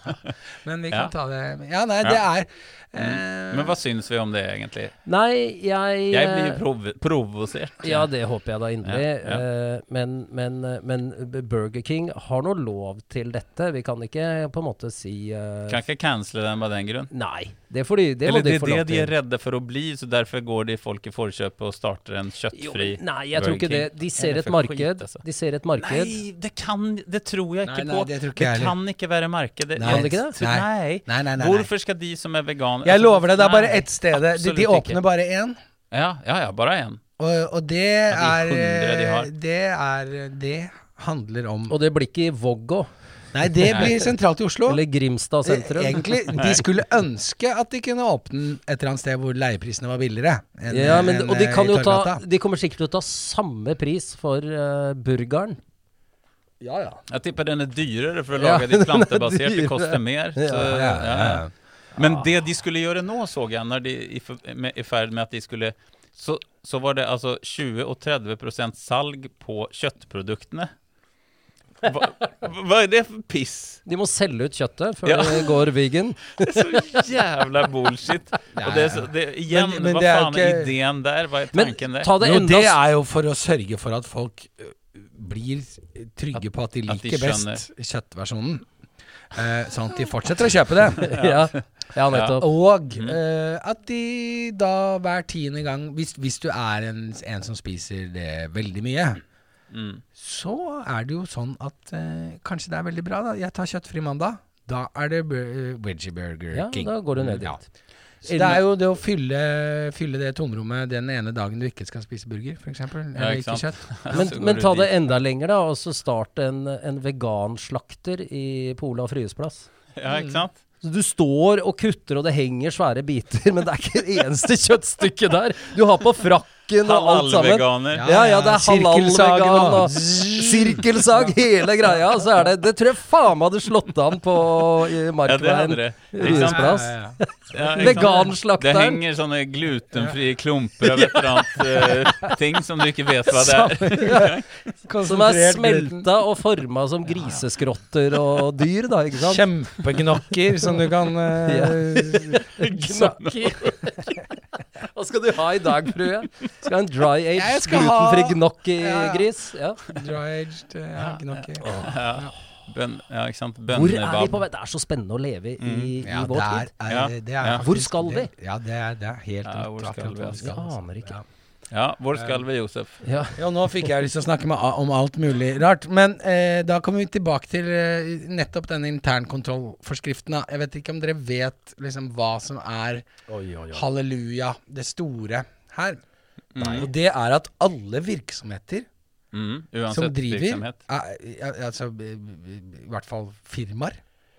Speaker 1: Men vi
Speaker 3: Ja.
Speaker 1: kan
Speaker 3: Mm,
Speaker 1: ta det Ja, nei, det er eh,
Speaker 3: Men vad syns vi om det egentligen?
Speaker 2: Nei, jeg
Speaker 3: Jag blir ju
Speaker 2: eh,
Speaker 3: prov provocerad.
Speaker 2: Ja, det håper jeg da inderlig.
Speaker 3: Ja, ja.
Speaker 2: eh, Men, men, men Burger King har nå lov til dette. Vi kan ikke på en måte si eh,
Speaker 3: Kanske cancella den bara den grund.
Speaker 2: Nei. Det får de, det må
Speaker 3: Eller det
Speaker 2: de
Speaker 3: är
Speaker 2: få
Speaker 3: det
Speaker 2: lov
Speaker 3: de är
Speaker 2: til.
Speaker 3: rädda för att bli, så därför går det folk i Forköp och startar en
Speaker 2: Jo,
Speaker 3: köttfri
Speaker 2: men nei, jeg tror
Speaker 3: Burger
Speaker 2: ikke det.
Speaker 3: King.
Speaker 2: De
Speaker 3: Är
Speaker 2: ser
Speaker 3: det
Speaker 2: et
Speaker 3: för skit,
Speaker 2: marked.
Speaker 3: alltså?
Speaker 2: De ser et marked.
Speaker 3: Nei, det kan Det tror jeg
Speaker 1: Nei,
Speaker 3: ikke
Speaker 1: nei,
Speaker 3: på.
Speaker 1: det tror ikke
Speaker 3: det
Speaker 1: jeg heller.
Speaker 3: kan ikke være merket. Det,
Speaker 1: Nei.
Speaker 2: Kan det ikke det?
Speaker 3: Nei.
Speaker 1: Nei. Nei, nei, nei, nei.
Speaker 3: Hvorfor skal de som er veganere
Speaker 1: Jeg lover deg, det er bare
Speaker 3: Nei,
Speaker 1: ett sted. De,
Speaker 3: absolutt
Speaker 1: de åpner
Speaker 3: ikke.
Speaker 1: bare én,
Speaker 3: Ja, ja, ja bare én.
Speaker 1: og, og det
Speaker 3: Av
Speaker 1: er
Speaker 3: de hundre de har.
Speaker 1: eh, Det er Det handler om
Speaker 2: Og det blir ikke i Vågå
Speaker 1: Nei, det blir sentralt i Oslo.
Speaker 2: eller Grimstad sentrum.
Speaker 1: Eh, Egentlig, de skulle ønske at de kunne åpne den et eller annet sted hvor leieprisene var billigere. enn-
Speaker 2: Ja, men,
Speaker 1: enn,
Speaker 2: og de,
Speaker 1: eh,
Speaker 2: kan
Speaker 1: i
Speaker 2: jo ta,
Speaker 1: Torggata.
Speaker 2: de kommer sikkert til å ta samme pris for eh, burgeren.
Speaker 1: Ja, ja.
Speaker 3: Jeg tipper den er dyrere for å
Speaker 2: Ja, den
Speaker 3: lage de
Speaker 2: er
Speaker 3: plantebasert. Det
Speaker 2: dyrere.
Speaker 3: koster mer. Så,
Speaker 2: Ja,
Speaker 1: ja, ja, ja.
Speaker 3: Men det de skulle gjøre nå, så jeg, når de i, f- med, i ferd med at de skulle så, så var det altså 20 og 30 salg på kjøttproduktene. Hva, hva er det for piss?
Speaker 2: De må selge ut kjøttet før
Speaker 3: Ja.
Speaker 2: det går vegan.
Speaker 3: Det er så jævla bullshit. Og det, er så- det, igjen,
Speaker 1: Men- men
Speaker 3: hva
Speaker 1: det er jo
Speaker 3: faen er
Speaker 1: ikke-
Speaker 3: ideen der? Hva er
Speaker 2: Men
Speaker 3: tanken der?
Speaker 2: ta det
Speaker 1: Jo,
Speaker 2: enda
Speaker 1: det er jo for å sørge for at folk ø, blir trygge på at de
Speaker 3: at de
Speaker 1: liker best kjøttversjonen. Eh, sånn at de fortsetter å kjøpe det.
Speaker 2: ja. ja, nettopp.
Speaker 1: Og eh, at de da hver tiende gang Hvis, hvis du er en, en som spiser det veldig mye,
Speaker 3: Mm.
Speaker 1: så er det jo sånn at eh, kanskje det er veldig bra, da. Jeg tar kjøttfri mandag. Da er det bur eh, Veggie Burger
Speaker 2: Ja,
Speaker 1: King. Mm,
Speaker 2: da går du ned dit.
Speaker 1: Ja. Så det er jo det å fylle, fylle det tomrommet den ene dagen du ikke skal spise burger, f.eks. Eller
Speaker 3: ikke
Speaker 1: ikke
Speaker 3: sant.
Speaker 1: kjøtt.
Speaker 2: Men,
Speaker 3: Så går
Speaker 2: men
Speaker 3: du
Speaker 2: ta
Speaker 3: dit.
Speaker 2: det enda lenger, da. Og så start en, en veganslakter i på Olav Fryes plass.
Speaker 3: Ja, ikke sant?
Speaker 2: Så du står og kutter, og det henger svære biter, men det er ikke det eneste kjøttstykket der. Du har på frakken og alt sammen.
Speaker 3: Halal-veganer.
Speaker 2: Ja, ja, det er
Speaker 1: Sirkelsagen
Speaker 2: halal-vegan
Speaker 1: og-
Speaker 2: og sirkelsag, hele greia. Så er det Det tror jeg faen meg hadde slått an på i
Speaker 3: Ja, det
Speaker 2: Markveien.
Speaker 3: hadde det. Ikke
Speaker 2: Ryes
Speaker 3: sant?
Speaker 2: plass.
Speaker 3: Ja, ikke sant? Det
Speaker 2: Veganslakteren.
Speaker 3: henger sånne glutenfrie klumper av et eller annet eh, ting som du ikke vet hva det er.
Speaker 2: Som er smelta og forma som griseskrotter og dyr, da, ikke sant?
Speaker 1: Kjempegnokker som du kan eh,
Speaker 2: Gnocchi. Hva skal du ha i dag, frue? Skal ha en dry age,
Speaker 1: Jeg skal ha-
Speaker 2: glutenfri
Speaker 1: Ja.
Speaker 2: gnocchi-gris? Ja.
Speaker 1: Dry-aged eh, gnokker.
Speaker 3: Ja. Bønn, ja, ikke sant.
Speaker 2: Hvor er vi på
Speaker 3: Bønnebab.
Speaker 2: vei? Det er så spennende å leve i, i
Speaker 1: Ja,
Speaker 2: vår
Speaker 1: det er,
Speaker 2: tid.
Speaker 1: er,
Speaker 3: Ja.
Speaker 1: det er
Speaker 3: Ja.
Speaker 2: Hvor
Speaker 1: faktisk-
Speaker 2: skal vi?
Speaker 1: det- Ja, det er, det er helt
Speaker 3: Ja,
Speaker 1: rått
Speaker 3: hvor skal
Speaker 1: akkurat
Speaker 3: vi?
Speaker 1: hva vi
Speaker 2: Jeg
Speaker 1: skal. altså.
Speaker 2: aner ikke.
Speaker 1: Ja.
Speaker 3: Ja, hvor skal vi, Josef?
Speaker 2: Ja.
Speaker 1: Ja, nå fikk jeg lyst til å snakke med, om alt mulig rart. Men eh, da kommer vi tilbake til eh, nettopp denne internkontrollforskriften. da. Jeg vet ikke om dere vet liksom, hva som er halleluja, det store her. Og det er at alle virksomheter
Speaker 3: Mm, uansett
Speaker 1: som driver,
Speaker 3: virksomhet.
Speaker 1: er, er- altså b- b- b- i hvert fall firmaer,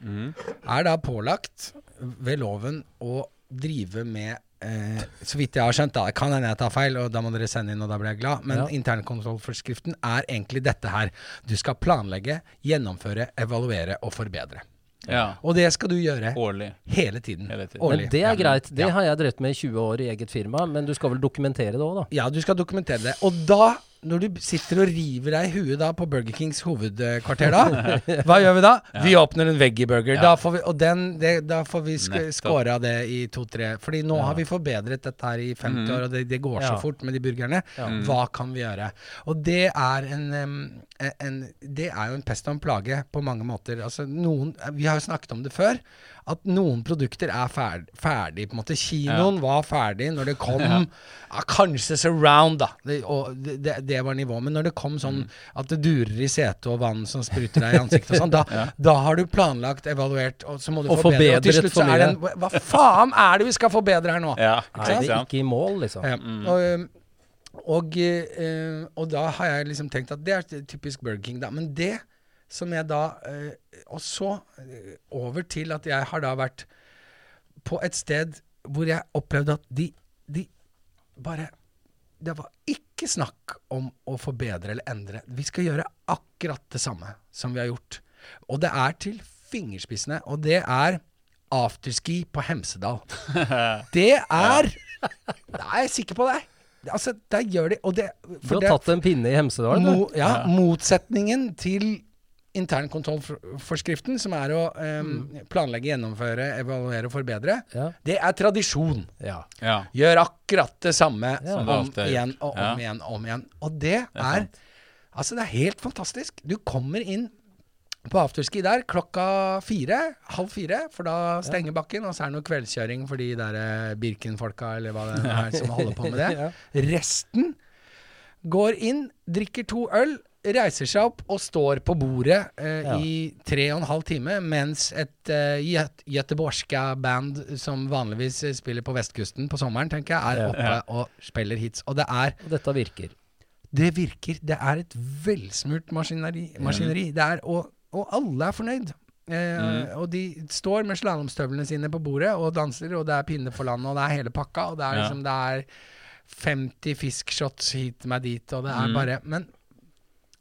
Speaker 3: Mm.
Speaker 1: er da pålagt ved loven å drive med eh, Så vidt jeg har skjønt, da. Det kan hende jeg tar feil, og da må dere sende inn, og da blir jeg glad. Men
Speaker 2: Ja.
Speaker 1: internkontrollforskriften er egentlig dette her. Du skal planlegge, gjennomføre, evaluere og forbedre.
Speaker 3: Ja,
Speaker 1: Og det skal du gjøre
Speaker 3: årlig.
Speaker 1: hele tiden.
Speaker 3: Hele tiden.
Speaker 1: Årlig.
Speaker 2: Men det
Speaker 1: Ja.
Speaker 2: er greit. Det
Speaker 1: Ja.
Speaker 2: har jeg drevet med i 20 år i eget firma, men du skal vel dokumentere det òg, da?
Speaker 1: Ja, du skal dokumentere det. Og da, når du sitter og river deg i huet da på Burger Kings hovedkvarter, da, hva gjør vi da? Vi åpner en veggieburger.
Speaker 3: Ja.
Speaker 1: Da får vi, og den, det, da får vi sk
Speaker 3: Nettopp.
Speaker 1: score av det i to-tre. Fordi nå har vi forbedret dette her i 50
Speaker 3: Mhm.
Speaker 1: år, og det, det går så
Speaker 2: Ja.
Speaker 1: fort med de burgerne.
Speaker 2: Mm.
Speaker 1: Hva kan vi gjøre? Og det er en, em, en, en Det er jo en pest og en plage på mange måter. Altså, noen, vi har jo snakket om det før. At noen produkter er ferdig, ferdig på en måte. Kinoen var ferdig når det kom ja. Kanskje surround, da. Det, og det, det- det var nivået. Men når det kom sånn
Speaker 2: Mm.
Speaker 1: at det durer i setet og vann som spruter deg i ansiktet og sånn, da, da har du planlagt, evaluert, og så må du
Speaker 2: Og
Speaker 1: forbedre. Og til
Speaker 2: forbedret
Speaker 1: slutt
Speaker 2: for
Speaker 1: så er det en Hva faen er det vi skal forbedre her nå?
Speaker 3: Ja,
Speaker 2: Er
Speaker 3: ikke
Speaker 2: det
Speaker 3: sant?
Speaker 2: ikke i mål, liksom?
Speaker 1: Ja. Og, um, Og, eh, og da har jeg liksom tenkt at det er ty- typisk Burger King, da. Men det som jeg da eh, Og så eh, over til at jeg har da vært på et sted hvor jeg opplevde at de, de bare Det var ikke snakk om å forbedre eller endre. Vi skal gjøre akkurat det samme som vi har gjort. Og det er til fingerspissene. Og det er afterski på Hemsedal. Det er Da er jeg sikker på det. Altså, der gjør de Og det
Speaker 2: Du
Speaker 1: for
Speaker 2: har
Speaker 1: det-
Speaker 2: tatt en pinne i Hemsedal, du.
Speaker 1: Mo, ja, motsetningen til internkontrollforskriften, som er å em, planlegge, gjennomføre, evaluere og forbedre,
Speaker 2: Mm. Ja.
Speaker 1: det er tradisjon.
Speaker 2: Ja.
Speaker 3: Ja.
Speaker 1: Gjør akkurat det samme
Speaker 2: Som
Speaker 3: det
Speaker 1: om
Speaker 3: alltid er
Speaker 1: igjen
Speaker 3: gjort.
Speaker 1: og om
Speaker 3: Ja.
Speaker 1: igjen og om igjen. Og det, er,
Speaker 3: sant.
Speaker 1: Altså, det er helt fantastisk. Du kommer inn på afterski der klokka fire, halv fire, for da stenger bakken, og så er det noe kveldskjøring for de der eh, Birken-folka, eller hva det er som holder på med det.
Speaker 2: Ja.
Speaker 1: Resten går inn, drikker to øl, reiser seg opp og står på bordet eh,
Speaker 2: Ja.
Speaker 1: i tre og en halv time, mens et eh, gøt göteborgska band som vanligvis eh, spiller på vestkusten på sommeren, tenker jeg, er
Speaker 2: Ja.
Speaker 1: oppe og spiller hits. Og det er
Speaker 2: Og dette virker.
Speaker 1: det virker. Det er et velsmurt maskineri. maskineri. Det er, og, og alle er fornøyd. Eh,
Speaker 3: Mm.
Speaker 1: Og de står med slalåmstøvlene sine på bordet og danser, og det er pinne for landet, og det er hele pakka, og det er
Speaker 3: Ja.
Speaker 1: liksom det er 50 fiskshots hit meg dit, og det
Speaker 3: Mm.
Speaker 1: er bare Men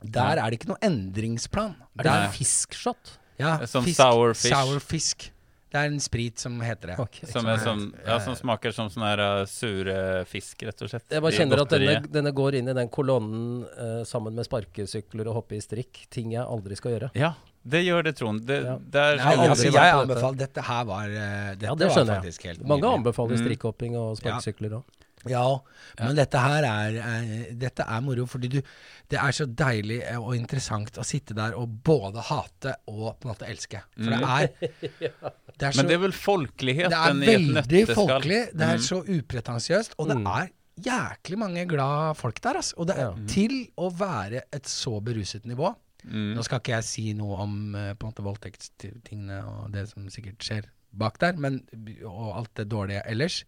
Speaker 1: der er det ikke noe endringsplan.
Speaker 2: Er det
Speaker 1: Der-
Speaker 2: fiskshot?
Speaker 1: ja,
Speaker 3: Det er som sour fish.
Speaker 1: sour fish. Det er en sprit som heter det.
Speaker 2: Ok.
Speaker 3: Som, er som, ja, som smaker som sånn her uh, sure fisk, rett og slett.
Speaker 2: Jeg bare
Speaker 3: I
Speaker 2: kjenner at denne,
Speaker 3: godteriet.
Speaker 2: denne går inn i den kolonnen eh, sammen med sparkesykler og hoppe i strikk. Ting jeg aldri skal gjøre.
Speaker 3: Ja, det gjør det, Trond. Det,
Speaker 2: Ja.
Speaker 1: Nei,
Speaker 3: Der skal
Speaker 2: aldri
Speaker 3: vi-
Speaker 1: altså, jeg
Speaker 2: vært på dette.
Speaker 1: anbefaler Dette her var eh, Dette
Speaker 2: Ja, det
Speaker 1: var
Speaker 2: skjønner
Speaker 1: faktisk
Speaker 2: jeg.
Speaker 1: helt
Speaker 2: Mange
Speaker 1: nydelig.
Speaker 2: anbefaler strikkhopping og sparkesykler òg.
Speaker 1: Ja, men dette her er, er Dette er moro, fordi du Det er så deilig eh, og interessant å sitte der og både hate og på en måte elske. For det er Det er, så,
Speaker 3: Men det er
Speaker 1: Altså, det
Speaker 3: vel folkeligheten i
Speaker 1: er
Speaker 3: et Mm.
Speaker 1: veldig
Speaker 3: nøtteskall.
Speaker 1: folkelig, det er så upretensiøst, og det er jæklig mange glad folk der, altså. Og det er
Speaker 2: Ja.
Speaker 1: til å være et så beruset nivå. Nå skal ikke jeg si noe om eh, på en måte voldtektstingene og det som sikkert skjer bak der, men, og alt det dårlige ellers.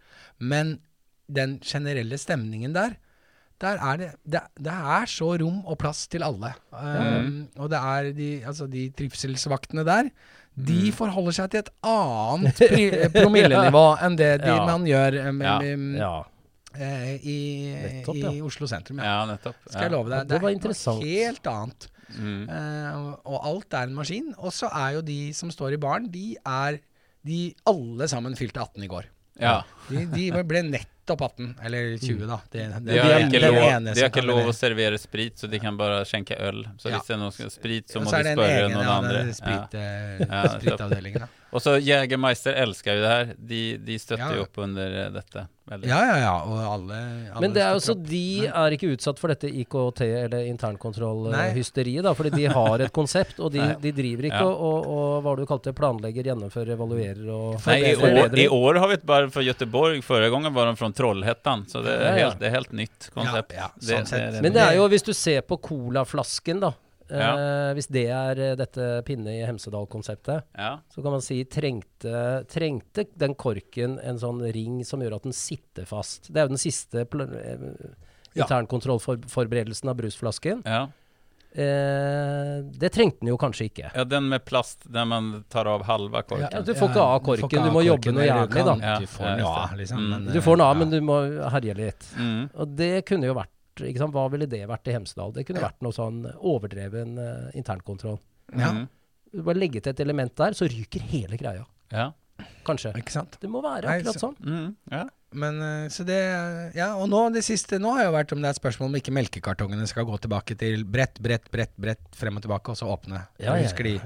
Speaker 1: Men den generelle stemningen der, der er det, det, det er så rom og plass til alle.
Speaker 2: Mm.
Speaker 1: Um, og det er de, altså de trivselsvaktene der,
Speaker 2: Mm.
Speaker 1: de forholder seg til et annet pri eh, promillenivå enn det de,
Speaker 2: Ja.
Speaker 1: man gjør eh,
Speaker 3: Ja.
Speaker 1: med, med,
Speaker 2: Ja.
Speaker 1: eh, i,
Speaker 2: Nettopp,
Speaker 1: i
Speaker 2: ja.
Speaker 1: Oslo sentrum. Ja.
Speaker 3: Ja, nettopp.
Speaker 1: Skal jeg
Speaker 3: ja.
Speaker 1: love deg.
Speaker 2: Det var
Speaker 1: er noe
Speaker 2: interessant.
Speaker 1: helt annet.
Speaker 3: Mm.
Speaker 1: Eh, og- og alt er en maskin. Og så er jo de som står i baren, de er de alle sammen fylte 18 i går.
Speaker 3: Ja.
Speaker 1: De, de ble nettopp 18, eller
Speaker 2: Mm.
Speaker 1: 20, da. Det, det,
Speaker 3: De har
Speaker 1: den-
Speaker 3: ikke
Speaker 1: den
Speaker 3: lov,
Speaker 1: ene
Speaker 3: de
Speaker 1: som
Speaker 3: har ikke
Speaker 1: kan
Speaker 3: lov å
Speaker 1: levere.
Speaker 3: servere sprit, så de kan bare skjenke øl. Så
Speaker 1: Ja.
Speaker 3: hvis det er noe som- sprit, så
Speaker 1: Og
Speaker 3: må
Speaker 1: så er
Speaker 3: de
Speaker 1: det en
Speaker 3: spørre
Speaker 1: egen
Speaker 3: noen
Speaker 1: ja,
Speaker 3: andre.
Speaker 1: den Sprit, eh,
Speaker 3: Ja,
Speaker 1: spritavdelingen, da.
Speaker 3: Og så Jegermeister elsker jo det her. De, de støtter
Speaker 1: Ja.
Speaker 3: jo opp under eh, dette. veldig.
Speaker 1: Ja, ja, ja. Og alle, alle
Speaker 2: Men det er jo så
Speaker 1: støtter opp.
Speaker 2: de er ikke utsatt for dette IKT- eller
Speaker 1: Nei.
Speaker 2: internkontrollhysteriet, da. Fordi de har et konsept, og de, de driver ikke
Speaker 3: Ja.
Speaker 2: og, og, og hva var det du kalte det, planlegger, gjennomfører, evaluerer og
Speaker 3: Nei, i år,
Speaker 2: forbedrer.
Speaker 3: I år har vi ett bare fra Göteborg. Forrige gangen var de fra Trollhättan. Så det
Speaker 2: Ja,
Speaker 3: er
Speaker 2: ja.
Speaker 3: helt, det er helt nytt konsept.
Speaker 1: Ja, ja,
Speaker 3: Det-
Speaker 1: sånn sett.
Speaker 3: Eh, det-
Speaker 2: Men det er jo, hvis du ser på colaflasken, da. eh,
Speaker 3: Ja.
Speaker 2: hvis det er eh, dette pinne i Hemsedal-konseptet,
Speaker 3: ja.
Speaker 2: så kan man si trengte, trengte den korken en sånn ring som gjør at den sitter fast. Det er jo den siste pl- eh,
Speaker 1: Ja.
Speaker 2: internkontrollforberedelsen av brusflasken.
Speaker 3: Ja.
Speaker 2: Eh, det trengte den jo kanskje ikke.
Speaker 3: ja, den med plast der man tar av halva korken.
Speaker 2: Ja, du får ikke av korken, du må jobbe noe
Speaker 1: eller
Speaker 2: jævlig,
Speaker 1: kan-
Speaker 3: da.
Speaker 1: Du
Speaker 3: Ja,
Speaker 1: får
Speaker 3: ja,
Speaker 1: den jo
Speaker 3: just
Speaker 1: av, liksom.
Speaker 3: Mm.
Speaker 1: men,
Speaker 2: Du får den
Speaker 1: eh,
Speaker 2: av,
Speaker 1: ja.
Speaker 2: men du må herje litt.
Speaker 3: Mm.
Speaker 2: Og det kunne jo vært ikke sant? Hva ville det vært i Hemsedal? Det kunne vært noe sånn overdreven eh, internkontroll.
Speaker 1: ja.
Speaker 3: Mm.
Speaker 2: Du bare legge til et element der, så ryker hele greia.
Speaker 3: Ja.
Speaker 2: Kanskje.
Speaker 1: Ikke sant.
Speaker 2: Det må være
Speaker 1: Nei,
Speaker 2: akkurat
Speaker 1: så-
Speaker 2: sånn.
Speaker 3: Mm. ja.
Speaker 1: Men eh, så det Ja, og nå det siste Nå har jo vært om det er et spørsmål om ikke melkekartongene skal gå tilbake til bredt, bredt, bredt, bredt, frem og tilbake, og så åpne.
Speaker 2: Ja, ja,
Speaker 1: Husker de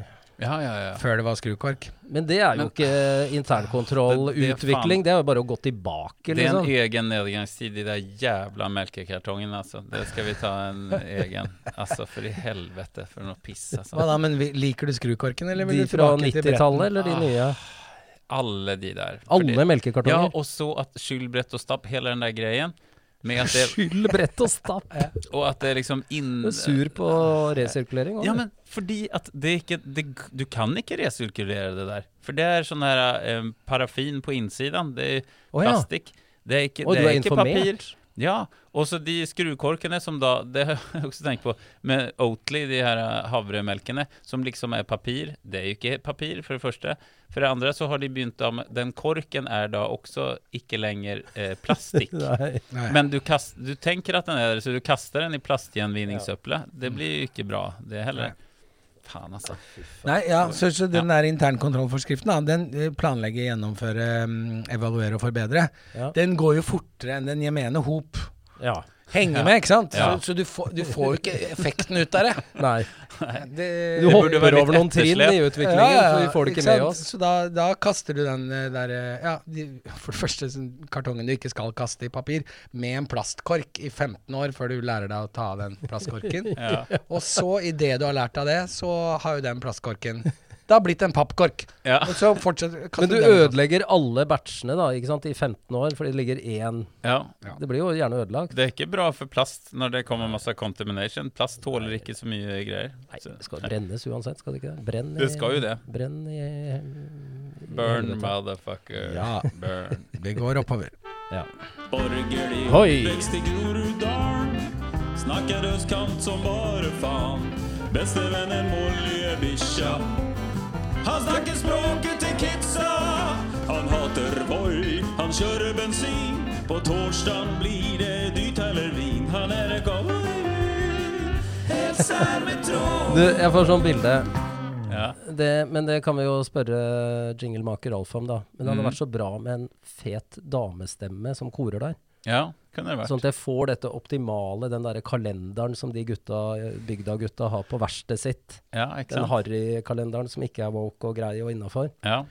Speaker 3: Ja, ja, ja.
Speaker 1: før det var skrukork?
Speaker 2: Men det er jo ikke
Speaker 3: Det- det er
Speaker 2: internkontrollutvikling.
Speaker 3: faen-
Speaker 2: Det er jo bare å gå tilbake,
Speaker 3: Det er en e-
Speaker 2: liksom.
Speaker 3: egen nedgangstid i de jævla melkekartongen, altså. Det skal vi ta en egen. Altså, for i helvete, for noe piss,
Speaker 1: Hva
Speaker 3: altså.
Speaker 1: da, men vi- liker du skrukorken, eller vil
Speaker 2: De
Speaker 1: du
Speaker 2: fra
Speaker 1: tilbake til bretten?
Speaker 2: 90-tallet eller de nye?
Speaker 3: Alle de der.
Speaker 2: Alle
Speaker 3: Fordi- Ja,
Speaker 2: melkekartonger.
Speaker 3: og så at skyllbrett og stapp, hele den der greien. Med at det,
Speaker 2: Skyll brett og stapp.
Speaker 3: og at det er liksom
Speaker 2: Du
Speaker 3: inn...
Speaker 2: er sur på resirkulering òg.
Speaker 3: Ja, men fordi at det er ikke det, Du kan ikke resirkulere det der. For det er sånn her eh, parafin på innsiden. Det er
Speaker 2: ja.
Speaker 3: plastikk. Det er ikke,
Speaker 2: Og
Speaker 3: det
Speaker 2: du
Speaker 3: er
Speaker 2: er
Speaker 3: ikke papir.
Speaker 2: informert.
Speaker 3: Ja, og så de skrukorkene som da Det har jeg også tenkt på. Med Oatly, de her eh, havremelkene, som liksom er papir. Det er jo ikke papir, for det første. For det andre så har de begynt da med Den korken er da også ikke lenger eh, plastikk.
Speaker 2: Nei.
Speaker 1: Nei.
Speaker 3: Men du, kast, du tenker at den er der, så du kaster den i plastgjenvinningssøpla. Det blir jo ikke bra, det heller. Faen, altså.
Speaker 1: Nei, ja, så, så den der internkontrollforskriften, da, den eh, planlegge, gjennomføre, mm, evaluere og forbedre,
Speaker 2: Ja.
Speaker 1: den går jo fortere enn den jemene hop.
Speaker 2: Ja.
Speaker 1: Henger med, ikke sant?
Speaker 3: Ja.
Speaker 1: Så, så du, får, du får jo ikke effekten ut av det.
Speaker 2: Nei.
Speaker 1: det
Speaker 2: Du hopper
Speaker 3: burde være litt
Speaker 2: over noen trinn
Speaker 3: etterslep.
Speaker 2: i utviklingen, så vi får det ikke med
Speaker 1: sant?
Speaker 2: oss.
Speaker 1: Så da, da kaster du den eh, der eh, ja, de, For det første sånn kartongen du ikke skal kaste i papir, med en plastkork i 15 år før du lærer deg å ta av den plastkorken.
Speaker 3: Ja.
Speaker 1: Og så, idet du har lært av det, så har jo den plastkorken Det har blitt en pappkork.
Speaker 3: Ja.
Speaker 1: Og så fortsetter kaster
Speaker 2: Men du
Speaker 1: den i plast.
Speaker 2: ødelegger alle batchene da, ikke sant, i 15 år, fordi det ligger én
Speaker 3: ja.
Speaker 2: Det blir jo gjerne ødelagt.
Speaker 3: Det er ikke bra for plast når det kommer masse contamination. Plast tåler ikke så mye greier.
Speaker 2: Nei,
Speaker 3: Så,
Speaker 2: det skal brennes uansett, skal det ikke det? Brenn i
Speaker 3: det skal jo det.
Speaker 2: Brenn i i
Speaker 3: Burn,
Speaker 2: helvete.
Speaker 3: motherfucker.
Speaker 1: Ja.
Speaker 3: Burn.
Speaker 1: Vi går oppover.
Speaker 2: Ja.
Speaker 3: Borgerlig
Speaker 2: Hoi.
Speaker 3: oppvekst i Groruddalen. Snakker østkant som bare faen. Bestevennen Moljebikkja. Han snakker språket til kidsa. Han hater Voi, han kjører bensin. På torsdagen blir det dyrt eller vin. Han er en cowboy. Helt sær med tråd.
Speaker 2: Du, jeg får sånn bilde.
Speaker 3: Ja.
Speaker 2: Det, men det kan vi jo spørre jinglemaker Alf om, da. Men
Speaker 3: Mm.
Speaker 2: det hadde vært så bra med en fet damestemme som korer der.
Speaker 3: ja, kunne det vært.
Speaker 2: Sånn at jeg får dette optimale, den derre kalenderen som de gutta, bygda-gutta har på verkstedet sitt.
Speaker 3: Ja, ikke
Speaker 2: Den
Speaker 3: sant.
Speaker 2: harrykalenderen som ikke er woke og grei og innafor.
Speaker 3: Ja.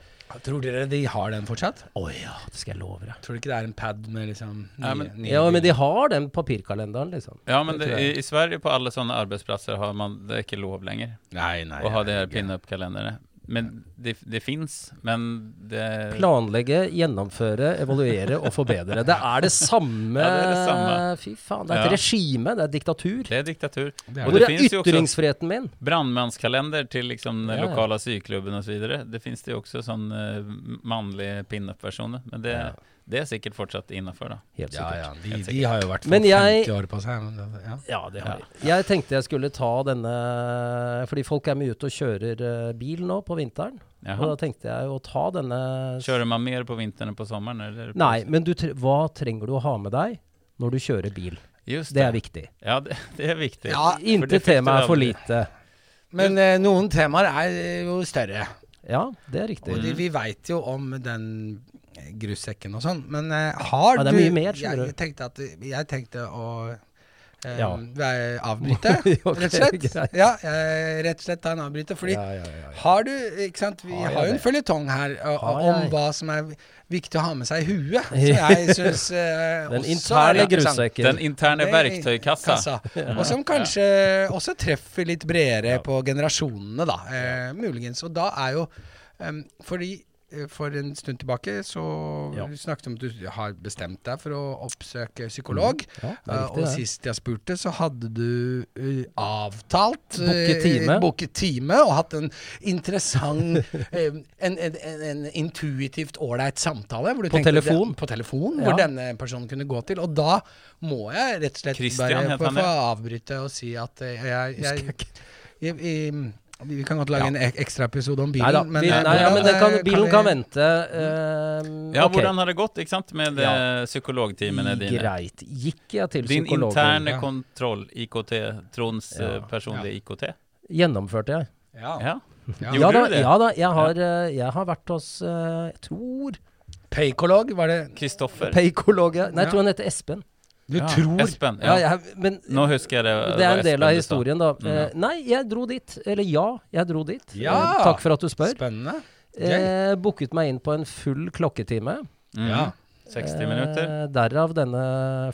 Speaker 1: Tror dere de har den fortsatt?
Speaker 2: Å ja, det skal jeg love deg.
Speaker 1: Tror du ikke det er en pad med liksom nye,
Speaker 3: Ja, men-
Speaker 1: nye
Speaker 2: Ja, men de har den papirkalenderen, liksom.
Speaker 3: Ja, men
Speaker 2: Det
Speaker 3: det,
Speaker 2: tror
Speaker 3: i,
Speaker 2: jeg.
Speaker 3: i Sverige på alle sånne arbeidsplasser har man det er ikke lov lenger
Speaker 1: Nei, nei.
Speaker 3: å ha det her
Speaker 1: herregud.
Speaker 3: pinup-kalenderet. Men det, det fins, men det
Speaker 2: Planlegge, gjennomføre, evaluere og forbedre. Det er det samme,
Speaker 3: Ja, det er det samme.
Speaker 2: Fy faen. Det er et
Speaker 3: Ja.
Speaker 2: regime, det er diktatur.
Speaker 3: Det er diktatur.
Speaker 1: Det er
Speaker 3: Og
Speaker 2: Hvor
Speaker 3: det
Speaker 2: er
Speaker 3: finnes jo også
Speaker 2: ytringsfriheten min?
Speaker 3: brannmannskalender til liksom den
Speaker 2: Ja, ja.
Speaker 3: lokale syklubben osv. Det fins det jo også sånn uh, mannlige pinup-versjoner. Men det, det er sikkert fortsatt innafor, da.
Speaker 2: Helt
Speaker 1: Ja,
Speaker 2: sikkert.
Speaker 1: ja. De, de har jo vært
Speaker 2: Men jeg-
Speaker 1: 50 år på seg. Men det, ja.
Speaker 2: Ja, det har de. Jeg tenkte jeg skulle ta denne Fordi folk er mye ute og kjører eh, bil nå på vinteren. Og da
Speaker 3: Jaha.
Speaker 2: tenkte jeg å ta denne
Speaker 3: Kjører man mer på vinteren enn på sommeren? Eller?
Speaker 2: Nei, men du, tre- hva trenger du å ha med deg når du kjører bil?
Speaker 3: Just
Speaker 2: Det er viktig.
Speaker 3: Ja, det, det er viktig.
Speaker 1: Ja,
Speaker 3: for det
Speaker 2: Intet
Speaker 3: fikk
Speaker 2: tema
Speaker 3: du
Speaker 2: er for
Speaker 3: aldri.
Speaker 2: lite.
Speaker 1: Men eh, noen temaer er eh, jo større.
Speaker 2: Ja, det er riktig.
Speaker 1: Og de, vi veit jo om den eh, grussekken og sånn, men eh, har
Speaker 2: Ja, det er
Speaker 1: du
Speaker 2: mye mer, skjønner
Speaker 1: jeg, tenkte at, jeg tenkte å eh,
Speaker 2: Ja.
Speaker 1: være- avbryte,
Speaker 2: Ok,
Speaker 1: rett og slett.
Speaker 2: greit.
Speaker 1: Ja, jeg, rett og slett ta en avbryter. Fordi
Speaker 2: Ja, ja, ja, ja.
Speaker 1: har du Ikke sant, vi
Speaker 2: Har
Speaker 1: har,
Speaker 2: jeg
Speaker 1: jo en
Speaker 2: det?
Speaker 1: føljetong her eh,
Speaker 2: Har
Speaker 1: om
Speaker 2: jeg?
Speaker 1: hva som er viktig å ha med seg i huet. Så jeg eh, syns
Speaker 2: Den interne
Speaker 3: Den
Speaker 2: grunnsekken.
Speaker 3: interne verktøykassa.
Speaker 1: Kassa. Og som kanskje også treffer litt bredere på generasjonene, da. Eh, muligens. Og da er jo em, Fordi eh, for en stund tilbake så
Speaker 2: Ja.
Speaker 1: snakket du om at du har bestemt deg for å oppsøke psykolog.
Speaker 2: Mm. Ja,
Speaker 1: Eh,
Speaker 2: det er riktig,
Speaker 1: og
Speaker 2: det.
Speaker 1: sist jeg spurte, så hadde du eh, avtalt
Speaker 2: Booket
Speaker 1: eh,
Speaker 2: time.
Speaker 1: booket time og hatt en interessant eh, En, en, en, en intuitivt ålreit samtale. Hvor du
Speaker 2: På
Speaker 1: tenkte, det-
Speaker 2: telefon.
Speaker 1: På telefon,
Speaker 2: Ja.
Speaker 1: hvor denne personen kunne gå til. Og da må jeg rett og slett
Speaker 3: Christian
Speaker 1: bare
Speaker 3: het
Speaker 1: få,
Speaker 3: han,
Speaker 1: få
Speaker 3: ja.
Speaker 1: avbryte og si at eh, jeg, jeg, jeg, jeg vi kan godt lage en ek- ekstraepisode om bilen,
Speaker 2: Neida,
Speaker 1: men,
Speaker 2: bil-
Speaker 1: eh,
Speaker 2: nei, ja,
Speaker 1: hvordan,
Speaker 2: men den kan,
Speaker 1: eh,
Speaker 2: bilen
Speaker 1: vi-
Speaker 2: kan vente. ehm,
Speaker 3: Ja,
Speaker 2: ok.
Speaker 3: hvordan har det gått ikke sant, med
Speaker 2: Ja.
Speaker 3: eh, psykologtimene dine?
Speaker 2: Greit. Gikk jeg til
Speaker 3: Din
Speaker 2: psykologen?
Speaker 3: interne
Speaker 1: ja.
Speaker 3: kontroll, IKT, Tronds
Speaker 2: Ja.
Speaker 3: eh, personlige IKT.
Speaker 2: Gjennomførte jeg.
Speaker 1: Ja.
Speaker 3: Ja.
Speaker 1: Ja.
Speaker 3: Gjorde
Speaker 2: ja, da,
Speaker 3: du det?
Speaker 2: Ja da, jeg har, eh, jeg har vært hos eh, Jeg tror
Speaker 1: Peikolog, var det
Speaker 3: Kristoffer.
Speaker 2: Peikolog ja. Nei,
Speaker 1: Ja.
Speaker 2: jeg tror han heter Espen.
Speaker 1: Du
Speaker 3: Ja,
Speaker 1: tror
Speaker 3: Espen.
Speaker 2: Ja,
Speaker 3: Ja.
Speaker 2: jeg, men
Speaker 3: Nå husker jeg det.
Speaker 2: det er
Speaker 3: var
Speaker 2: en del
Speaker 3: Espen
Speaker 2: av
Speaker 3: du sa.
Speaker 2: historien, da.
Speaker 3: Mm.
Speaker 2: Eh, nei, jeg dro dit. Eller ja, jeg dro dit.
Speaker 1: Ja.
Speaker 2: Eh, takk for at du spør.
Speaker 1: Spennende. Gøy.
Speaker 2: Eh, booket meg inn på en full klokketime.
Speaker 3: Mm.
Speaker 1: Ja.
Speaker 3: 60 minutter.
Speaker 2: Eh, derav denne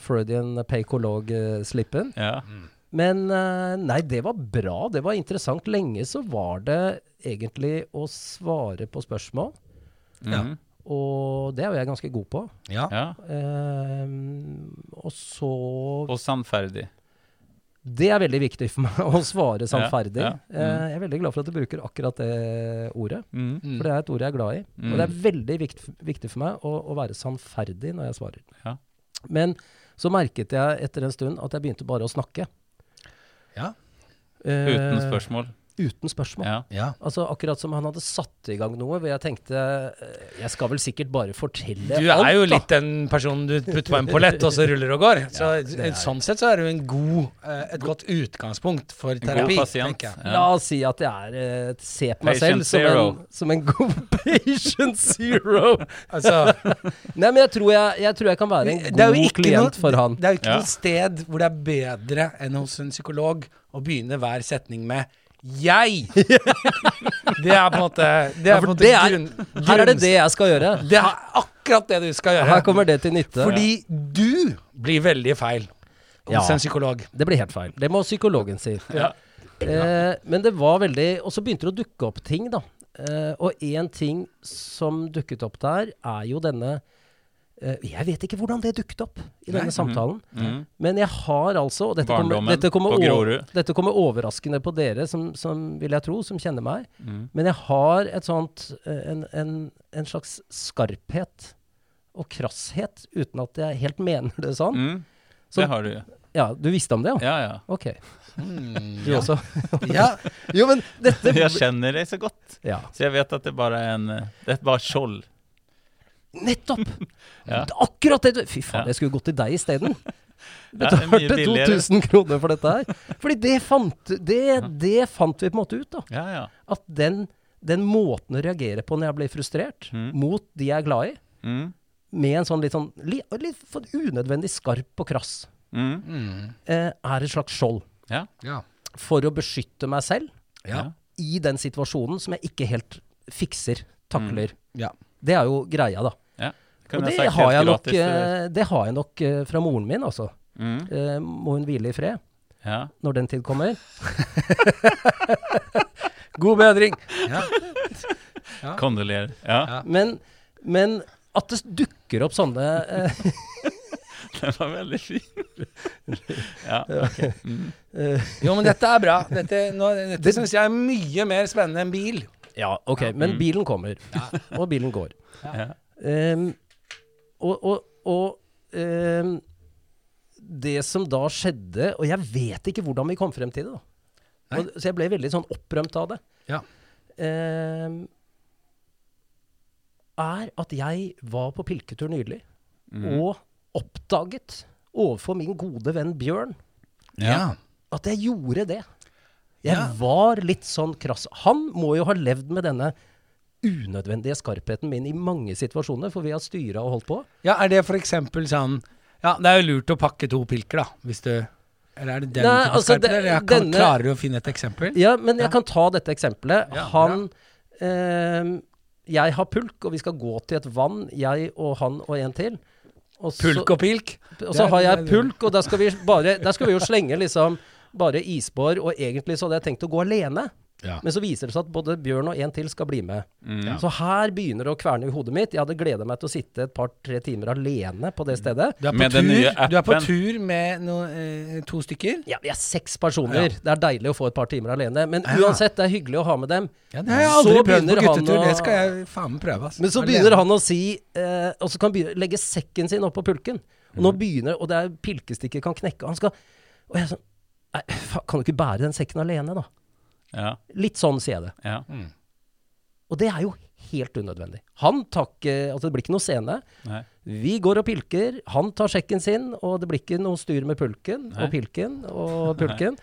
Speaker 2: Freudian peikolog-slippen.
Speaker 3: Ja.
Speaker 2: Men eh, nei, det var bra. Det var interessant. Lenge så var det egentlig å svare på spørsmål,
Speaker 3: Mm.
Speaker 2: og det er jo jeg ganske god på.
Speaker 1: Ja.
Speaker 3: ja.
Speaker 2: Eh, og så
Speaker 3: Og sannferdig.
Speaker 2: Det er veldig viktig for meg å svare sannferdig.
Speaker 3: ja, mm.
Speaker 2: Eh, jeg er veldig glad for at du bruker akkurat det ordet,
Speaker 3: Mm.
Speaker 1: Mm.
Speaker 2: for det er et ord jeg er glad i. Og det er veldig vikt, viktig for meg å, å være sannferdig når jeg svarer.
Speaker 3: Ja.
Speaker 2: Men Så merket jeg etter en stund at jeg begynte bare å snakke.
Speaker 1: Ja.
Speaker 2: Eh,
Speaker 3: Uten spørsmål.
Speaker 2: Uten spørsmål.
Speaker 3: Ja.
Speaker 1: Ja.
Speaker 2: Altså Akkurat som han hadde satt i gang noe hvor jeg tenkte eh, Jeg skal vel sikkert bare fortelle
Speaker 1: Du
Speaker 2: alt,
Speaker 1: er jo
Speaker 2: da.
Speaker 1: litt den personen du putter på en pollett, og så ruller og går. Så
Speaker 2: det er-
Speaker 1: Sånn sett så er du en god, eh, et godt utgangspunkt for
Speaker 3: En
Speaker 1: terapi.
Speaker 3: god pasient.
Speaker 1: tenker jeg.
Speaker 2: La
Speaker 3: Ja.
Speaker 2: oss si at jeg er eh, Se på meg selv
Speaker 3: Patient
Speaker 2: som
Speaker 3: zero.
Speaker 2: en, som en god patient zero.
Speaker 1: Altså,
Speaker 2: Nei, men jeg tror jeg, jeg, tror jeg kan være en
Speaker 1: det er jo
Speaker 2: god
Speaker 1: ikke, noe,
Speaker 2: klient for han.
Speaker 1: det er jo ikke
Speaker 3: Ja.
Speaker 1: noe sted hvor det er bedre enn hos en psykolog å begynne hver setning med 'jeg'. Det er på en måte Det er,
Speaker 2: Ja,
Speaker 1: på en
Speaker 2: for
Speaker 1: måte
Speaker 2: det er-
Speaker 1: grunn,
Speaker 2: Her er det
Speaker 1: grunns-
Speaker 2: det jeg skal gjøre.
Speaker 1: Det er akkurat det du skal gjøre.
Speaker 2: Her kommer det til nytte.
Speaker 1: Fordi du blir veldig feil hos
Speaker 2: Ja.
Speaker 1: en psykolog.
Speaker 2: Det blir helt feil. Det må psykologen si.
Speaker 1: Ja.
Speaker 2: Eh, men det var veldig Og så begynte det å dukke opp ting, da. Eh, og én ting som dukket opp der, er jo denne eh, Jeg vet ikke hvordan det dukket opp i denne samtalen,
Speaker 3: Mhm.
Speaker 2: men jeg har altså og dette kommer,
Speaker 3: Barndommen
Speaker 2: dette, kommer
Speaker 3: på
Speaker 2: over,
Speaker 3: Grorud.
Speaker 2: dette kommer overraskende på dere, som, som vil jeg tro, som kjenner meg.
Speaker 3: Mm.
Speaker 2: Men jeg har et sånt eh, en, en, en slags skarphet og krasshet, uten at jeg helt mener det sånn.
Speaker 3: Mm.
Speaker 2: Så-
Speaker 3: Det har du.
Speaker 2: Ja, Du visste om det, ja?
Speaker 3: Ja, ja.
Speaker 2: Ok.
Speaker 1: Hmm,
Speaker 2: Du også?
Speaker 1: Ja.
Speaker 2: Jo, men dette
Speaker 3: Jeg kjenner deg så godt.
Speaker 2: Ja.
Speaker 3: Så jeg vet at det bare er en eh, Det er bare skjold.
Speaker 2: Nettopp!
Speaker 3: Ja.
Speaker 2: Det er Akkurat det! du- Fy faen,
Speaker 3: Ja.
Speaker 2: jeg skulle gått til deg isteden.
Speaker 3: Ja, det er mye
Speaker 2: Betalte
Speaker 3: billigere.
Speaker 2: 2000 kroner for dette her. Fordi det fant, det, det fant vi på en måte ut, da.
Speaker 3: Ja, ja.
Speaker 2: At den, den måten å reagere på når jeg blir frustrert,
Speaker 3: Mm.
Speaker 2: mot de jeg er glad i,
Speaker 3: Mm.
Speaker 2: med en sånn litt sånn li, litt for unødvendig skarp og krass,
Speaker 3: Mm.
Speaker 1: Mm.
Speaker 2: eh, er et slags skjold
Speaker 3: Ja.
Speaker 1: Ja.
Speaker 2: for å beskytte meg selv
Speaker 1: Ja.
Speaker 2: i den situasjonen som jeg ikke helt fikser, takler.
Speaker 1: Ja.
Speaker 2: Det er jo greia, da.
Speaker 3: ja.
Speaker 2: Og
Speaker 3: Kunne
Speaker 2: det
Speaker 3: Mm. jeg sagt
Speaker 2: har
Speaker 3: helt
Speaker 2: jeg, nok,
Speaker 3: gratis til deg.
Speaker 2: eh, det har jeg nok eh, fra moren min, altså.
Speaker 3: Mm.
Speaker 2: Eh, Må hun hvile i fred
Speaker 3: eh, Ja.
Speaker 2: når den tid kommer.
Speaker 1: God bedring. Ja.
Speaker 3: Kondolerer. Ja.
Speaker 1: Ja.
Speaker 2: Men, men at det dukker opp sånne eh,
Speaker 3: Den var veldig fin. Ja.
Speaker 2: eh,
Speaker 1: Jo, men dette er bra. Dette, nå- dette syns jeg er mye mer spennende enn bil.
Speaker 2: Ja, OK, men bilen kommer. Og bilen går.
Speaker 3: Ja.
Speaker 2: Ehm, og og, og ehm, det som da skjedde Og jeg vet ikke hvordan vi kom frem til det, da.
Speaker 1: Nei.
Speaker 2: Og, så jeg ble veldig sånn opprømt av det.
Speaker 1: Ja.
Speaker 2: Ehm, er at jeg var på pilketur nylig
Speaker 1: Mm.
Speaker 2: og oppdaget overfor min gode venn Bjørn
Speaker 1: Ja.
Speaker 2: at jeg gjorde det. Jeg
Speaker 1: Ja.
Speaker 2: var litt sånn krass. Han må jo ha levd med denne unødvendige skarpheten min i mange situasjoner, for vi har styra og holdt på.
Speaker 1: ja, er det for eksempel sånn Ja, det er jo lurt å pakke to pilker, da, hvis du Eller er det den
Speaker 2: Nei,
Speaker 1: typen
Speaker 2: altså,
Speaker 1: skarper?
Speaker 2: det-
Speaker 1: Eller jeg kan,
Speaker 2: denne-
Speaker 1: klarer du å finne et eksempel?
Speaker 2: Ja, men jeg kan ta dette eksempelet.
Speaker 1: Ja,
Speaker 2: han ehm, Jeg har pulk, og vi skal gå til et vann, jeg og han og en til. Og så-
Speaker 1: Pulk og pilk?
Speaker 2: Og så
Speaker 1: Det-
Speaker 2: har jeg
Speaker 1: det-
Speaker 2: pulk, og der skal vi, bare, der skal vi jo slenge liksom bare isbår, og egentlig så hadde jeg tenkt å gå alene.
Speaker 1: Ja.
Speaker 2: Men så viser det seg at både Bjørn og en til skal bli med.
Speaker 3: Mm.
Speaker 2: Så her begynner det å kverne i hodet mitt. Jeg hadde gleda meg til å sitte et par-tre timer alene
Speaker 1: Mm.
Speaker 2: på det stedet.
Speaker 1: Du er på,
Speaker 3: Med den nye
Speaker 1: tur, du er på
Speaker 3: appen.
Speaker 1: tur med no, eh, to stykker?
Speaker 2: Ja, vi er seks personer. Det er deilig å få et par timer alene. Men
Speaker 1: Ja.
Speaker 2: uansett, det er hyggelig å ha med dem.
Speaker 1: Ja, det har jeg aldri
Speaker 2: Så
Speaker 1: prøvd på
Speaker 2: begynner han
Speaker 1: guttetur.
Speaker 2: å-
Speaker 1: Det skal jeg faen meg prøve. ass.
Speaker 2: Men så
Speaker 1: Alene.
Speaker 2: begynner han å si eh, Og så kan han begynne, legge sekken sin opp på pulken. Og
Speaker 1: Mm.
Speaker 2: nå begynner Og det er pilkestikket kan knekke. og Han skal Og jeg sånn Nei, faen, kan du ikke bære den sekken alene, da?
Speaker 3: Ja.
Speaker 2: Litt sånn sier jeg det.
Speaker 3: Ja.
Speaker 2: Og det er jo helt unødvendig. Han tar ikke Altså, det blir ikke noe scene.
Speaker 3: Nei.
Speaker 2: Vi går og pilker. Han tar sjekken sin, og det blir ikke noe styr med pulken
Speaker 3: Nei.
Speaker 2: og pilken og pulken.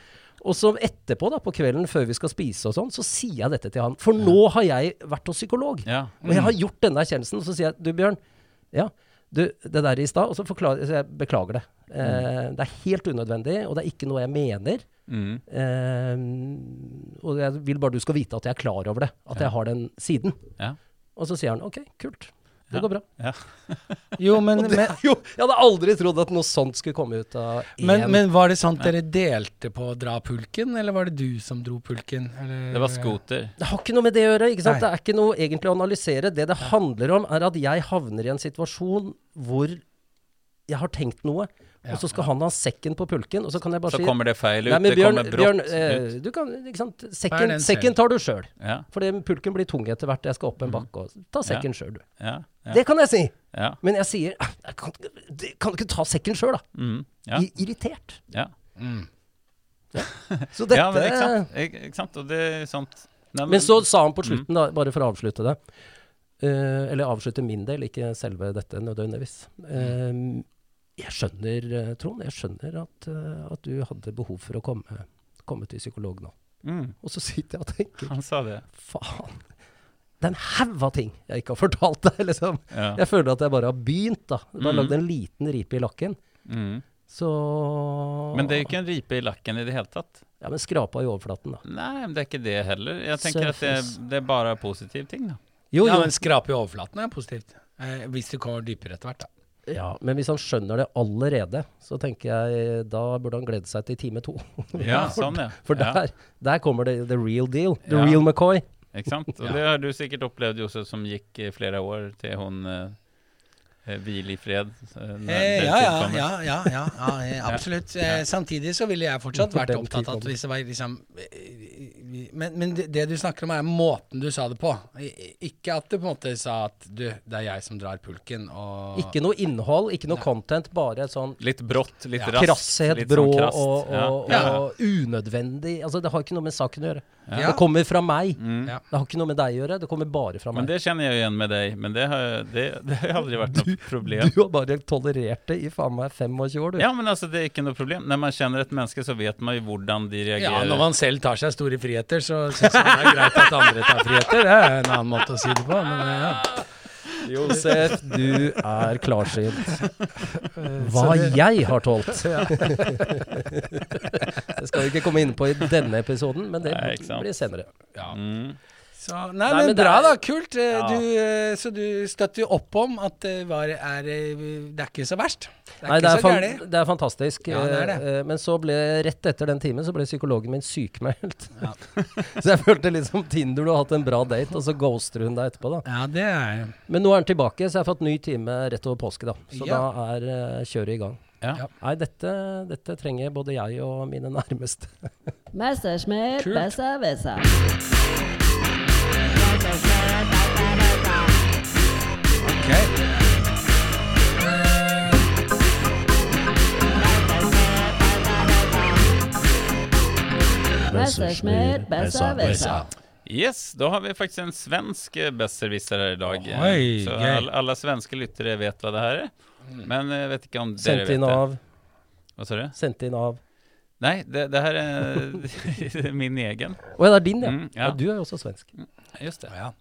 Speaker 2: Og så etterpå, da, på kvelden før vi skal spise og sånn, så sier jeg dette til han. For nå har jeg vært hos psykolog.
Speaker 3: Ja. Mm.
Speaker 2: Og jeg har gjort denne erkjennelsen. Så sier jeg du, Bjørn, ja, du, det der i stad. Og så forklarer så jeg beklager det. Eh, det er helt unødvendig, og det er ikke noe jeg mener.
Speaker 3: Mm.
Speaker 2: Eh, og jeg vil bare du skal vite at jeg er klar over det. At jeg har den siden.
Speaker 3: Ja.
Speaker 2: Og så sier han OK, kult. Det
Speaker 3: Ja.
Speaker 2: går bra.
Speaker 3: Ja.
Speaker 1: Jo, men,
Speaker 2: Og det
Speaker 1: men,
Speaker 2: er jo, jeg hadde aldri trodd at noe sånt skulle komme ut av E én
Speaker 1: men, men var det sant dere delte på å dra pulken, eller var det du som dro pulken? Eller,
Speaker 3: Det var scooter.
Speaker 2: Det har ikke noe med det å gjøre. ikke
Speaker 1: Nei.
Speaker 2: sant? Det er ikke noe egentlig å analysere. Det det handler om, er at jeg havner i en situasjon hvor jeg har tenkt noe, og så skal han ha sekken på pulken, og så kan jeg bare
Speaker 3: Så
Speaker 2: si
Speaker 3: kommer det feil ut.
Speaker 2: Nei, men
Speaker 3: det
Speaker 2: Bjørn,
Speaker 3: kommer
Speaker 2: Bjørn
Speaker 3: brått
Speaker 2: eh,
Speaker 3: ut.
Speaker 2: du kan, ikke sant?
Speaker 1: Bær
Speaker 2: Sekken,
Speaker 1: den selv.
Speaker 2: sekken tar du sjøl.
Speaker 3: Ja.
Speaker 1: Mhm.
Speaker 2: For det- pulken blir tung etter hvert. Jeg skal opp en bakke. og Ta sekken sjøl, du.
Speaker 3: Ja. Ja.
Speaker 2: Det kan jeg si!
Speaker 3: Ja.
Speaker 2: Men jeg sier "Ah, jeg Kan, du- kan du ikke ta sekken sjøl, da?
Speaker 3: Mm. Ja.
Speaker 2: I, irritert.
Speaker 3: ja.
Speaker 1: Mm.
Speaker 2: Så dette
Speaker 3: ja, men ikke sant? Ik- Ikke sant? Og det er sånt Nei,
Speaker 2: Men så sa han
Speaker 3: Mm.
Speaker 2: på slutten, da, bare for å avslutte det eh, Eller avslutte min del, ikke selve dette nødvendigvis. Eh,
Speaker 3: Mm.
Speaker 2: jeg skjønner, eh, Trond, jeg skjønner at, eh, at du hadde behov for å komme, komme til psykolog nå.
Speaker 3: mm.
Speaker 2: Og så sitter jeg og tenker
Speaker 3: Han sa det.
Speaker 2: faen. Det er en haug av ting jeg ikke har fortalt deg, liksom.
Speaker 3: Ja.
Speaker 2: Jeg føler at jeg bare har begynt, da. Bare
Speaker 3: Mm.
Speaker 2: lagd en liten ripe i lakken.
Speaker 3: Mm.
Speaker 2: Så
Speaker 3: Men det er jo ikke en ripe i lakken i det hele tatt.
Speaker 2: Ja, men skrapa i overflaten, da.
Speaker 3: Nei, men det er ikke det heller. Jeg tenker at det,
Speaker 2: Surface.
Speaker 3: det er bare positive ting, da.
Speaker 2: Jo,
Speaker 1: Ja,
Speaker 2: jo.
Speaker 1: men skrape i overflaten er positivt. Eh, hvis du kommer dypere etter hvert, da.
Speaker 2: Ja, men hvis han skjønner det allerede, så tenker jeg da burde han glede seg til time to.
Speaker 3: Ja, sånn, ja.
Speaker 2: For
Speaker 3: ja.
Speaker 2: der, der kommer det the real deal. The
Speaker 3: Ja.
Speaker 2: real McCoy.
Speaker 3: Ikke sant? Og det har du sikkert opplevd, Josef, som gikk i flere år til hun eh, eh, hvile i fred. eh, når
Speaker 1: Eh,
Speaker 3: den
Speaker 1: ja, ja,
Speaker 3: tid kommer.
Speaker 1: ja, ja, ja, ja, eh, absolutt. Eh, samtidig så ville jeg fortsatt vært
Speaker 2: Den tid
Speaker 1: opptatt av at
Speaker 2: kommer.
Speaker 1: hvis det var liksom eh, Men, men det, det du snakker om, er måten du sa det på. I- i- Ikke at du på en måte sa at du, det er jeg som drar pulken, og
Speaker 2: Ikke noe innhold, ikke noe content, bare sånn
Speaker 3: Litt brått, litt
Speaker 1: Ja.
Speaker 3: raskt.
Speaker 2: krasshet,
Speaker 3: litt
Speaker 2: brå
Speaker 3: sånn krast.
Speaker 2: og, og,
Speaker 1: Ja.
Speaker 2: og unødvendig. Altså, det har ikke noe med saken å gjøre.
Speaker 1: Ja.
Speaker 2: Det kommer fra meg.
Speaker 3: Mm.
Speaker 1: Ja.
Speaker 2: Det har ikke noe med deg å gjøre, det kommer bare fra
Speaker 3: Men
Speaker 2: meg.
Speaker 3: det kjenner jeg jo igjen med deg, men det har, det, det har aldri vært noe problem.
Speaker 2: Du har bare tolerert det i faen meg 25 år, du.
Speaker 3: Ja, men altså, det er ikke noe problem. Når man kjenner et menneske, så vet man jo hvordan de
Speaker 1: Ja,
Speaker 3: reagerer.
Speaker 1: når man selv tar seg store friheter, så syns man det er greit at andre tar friheter. Det er en annen måte å si det på, men eh, ja.
Speaker 2: Josef, du er klarsynt. Hva jeg har tålt. Det skal vi ikke komme inn på i denne episoden, men det
Speaker 3: Nei, ikke sant.
Speaker 2: blir senere.
Speaker 3: mm.
Speaker 1: Så, nei,
Speaker 2: Nei,
Speaker 1: men,
Speaker 2: men det
Speaker 1: bra,
Speaker 2: er-
Speaker 1: da. Kult. Eh,
Speaker 2: Ja.
Speaker 1: Du, eh, så du støtter jo opp om at det var, er eh, Det er ikke så verst. Det er
Speaker 2: Nei, det
Speaker 1: ikke
Speaker 2: er,
Speaker 1: så
Speaker 2: fan,
Speaker 1: gærent.
Speaker 2: det er fantastisk.
Speaker 1: Ja, det er det.
Speaker 2: eh, eh, Men så ble rett etter den timen så ble psykologen min sykemeldt.
Speaker 1: Ja.
Speaker 2: Så jeg følte litt som Tinder, du har hatt en bra date, og så ghoster hun deg etterpå, da.
Speaker 1: Ja, det er
Speaker 2: Men nå er han tilbake, så jeg har fått ny time rett over påske, da. Så
Speaker 1: Ja.
Speaker 2: da er eh, kjøret i gang.
Speaker 3: Ja.
Speaker 1: Ja.
Speaker 2: Nei, dette, dette trenger både jeg og mine nærmeste.
Speaker 5: Messerschmidt,
Speaker 1: Kult.
Speaker 5: besser Wisser.
Speaker 1: Ok.
Speaker 5: Messerschmidt, besser Wisser.
Speaker 3: Yes, da har vi faktisk en svensk eh, besserwisser her i dag. eh,
Speaker 1: Oi,
Speaker 3: så
Speaker 1: gøy.
Speaker 3: all, alle svenske lyttere vet hva det her er. Men jeg vet ikke om dere
Speaker 2: Sendt
Speaker 3: vet
Speaker 2: inn
Speaker 3: det.
Speaker 2: av
Speaker 3: Hva sa du?
Speaker 2: Sendt inn av
Speaker 3: Nei, det, det her er min egen.
Speaker 2: Å ja, det er din, ja.
Speaker 3: Mm, ja.
Speaker 2: ja. Du er jo også svensk.
Speaker 3: Just det.
Speaker 1: Ja.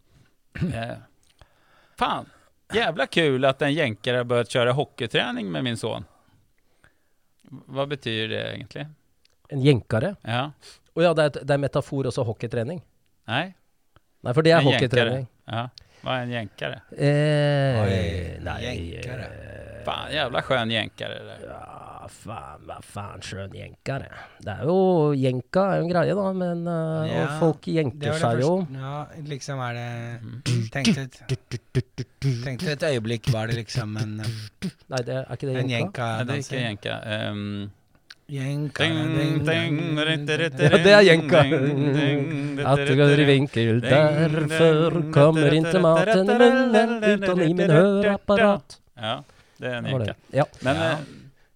Speaker 3: Eh, Fan, jävla kul att en jänkare har börjat köra hockeyträning med min son. Vad betyder det egentligen?
Speaker 2: En jenkare.
Speaker 3: Ja,
Speaker 2: Å ja, det er, et- det er metafor også hockeytrening.
Speaker 3: nej,
Speaker 2: Nei, for det er
Speaker 3: en jänkare.
Speaker 2: hockeytrening.
Speaker 3: Ja, vad är en jänkare?
Speaker 2: Eh,
Speaker 1: Oi,
Speaker 2: nei
Speaker 1: jenkare.
Speaker 2: eh,
Speaker 3: Fan, jävla skön jänkare det där.
Speaker 2: Ja, faen, hva faen, skjønn jenkare. Det er jo Jenka er jo en greie, da, men eh,
Speaker 1: Ja,
Speaker 2: og folk jenker seg jo.
Speaker 1: Ja, liksom er det Tenkte et, tenkte et øyeblikk, var det liksom en,
Speaker 2: Nei, det er ikke det
Speaker 1: en
Speaker 2: jenka?
Speaker 1: jenka
Speaker 3: Nej, det är inte jänka. Ehm,
Speaker 1: Jenka
Speaker 3: ding, ding, ding,
Speaker 2: Ja, det er jenka.
Speaker 3: ding, ding,
Speaker 2: At du går i vinkel, derfor kommer ikke maten i munnen uten i min høreapparat.
Speaker 3: Ja, det är en
Speaker 2: Det var
Speaker 3: jänka.
Speaker 2: det. Ja.
Speaker 3: Men eh,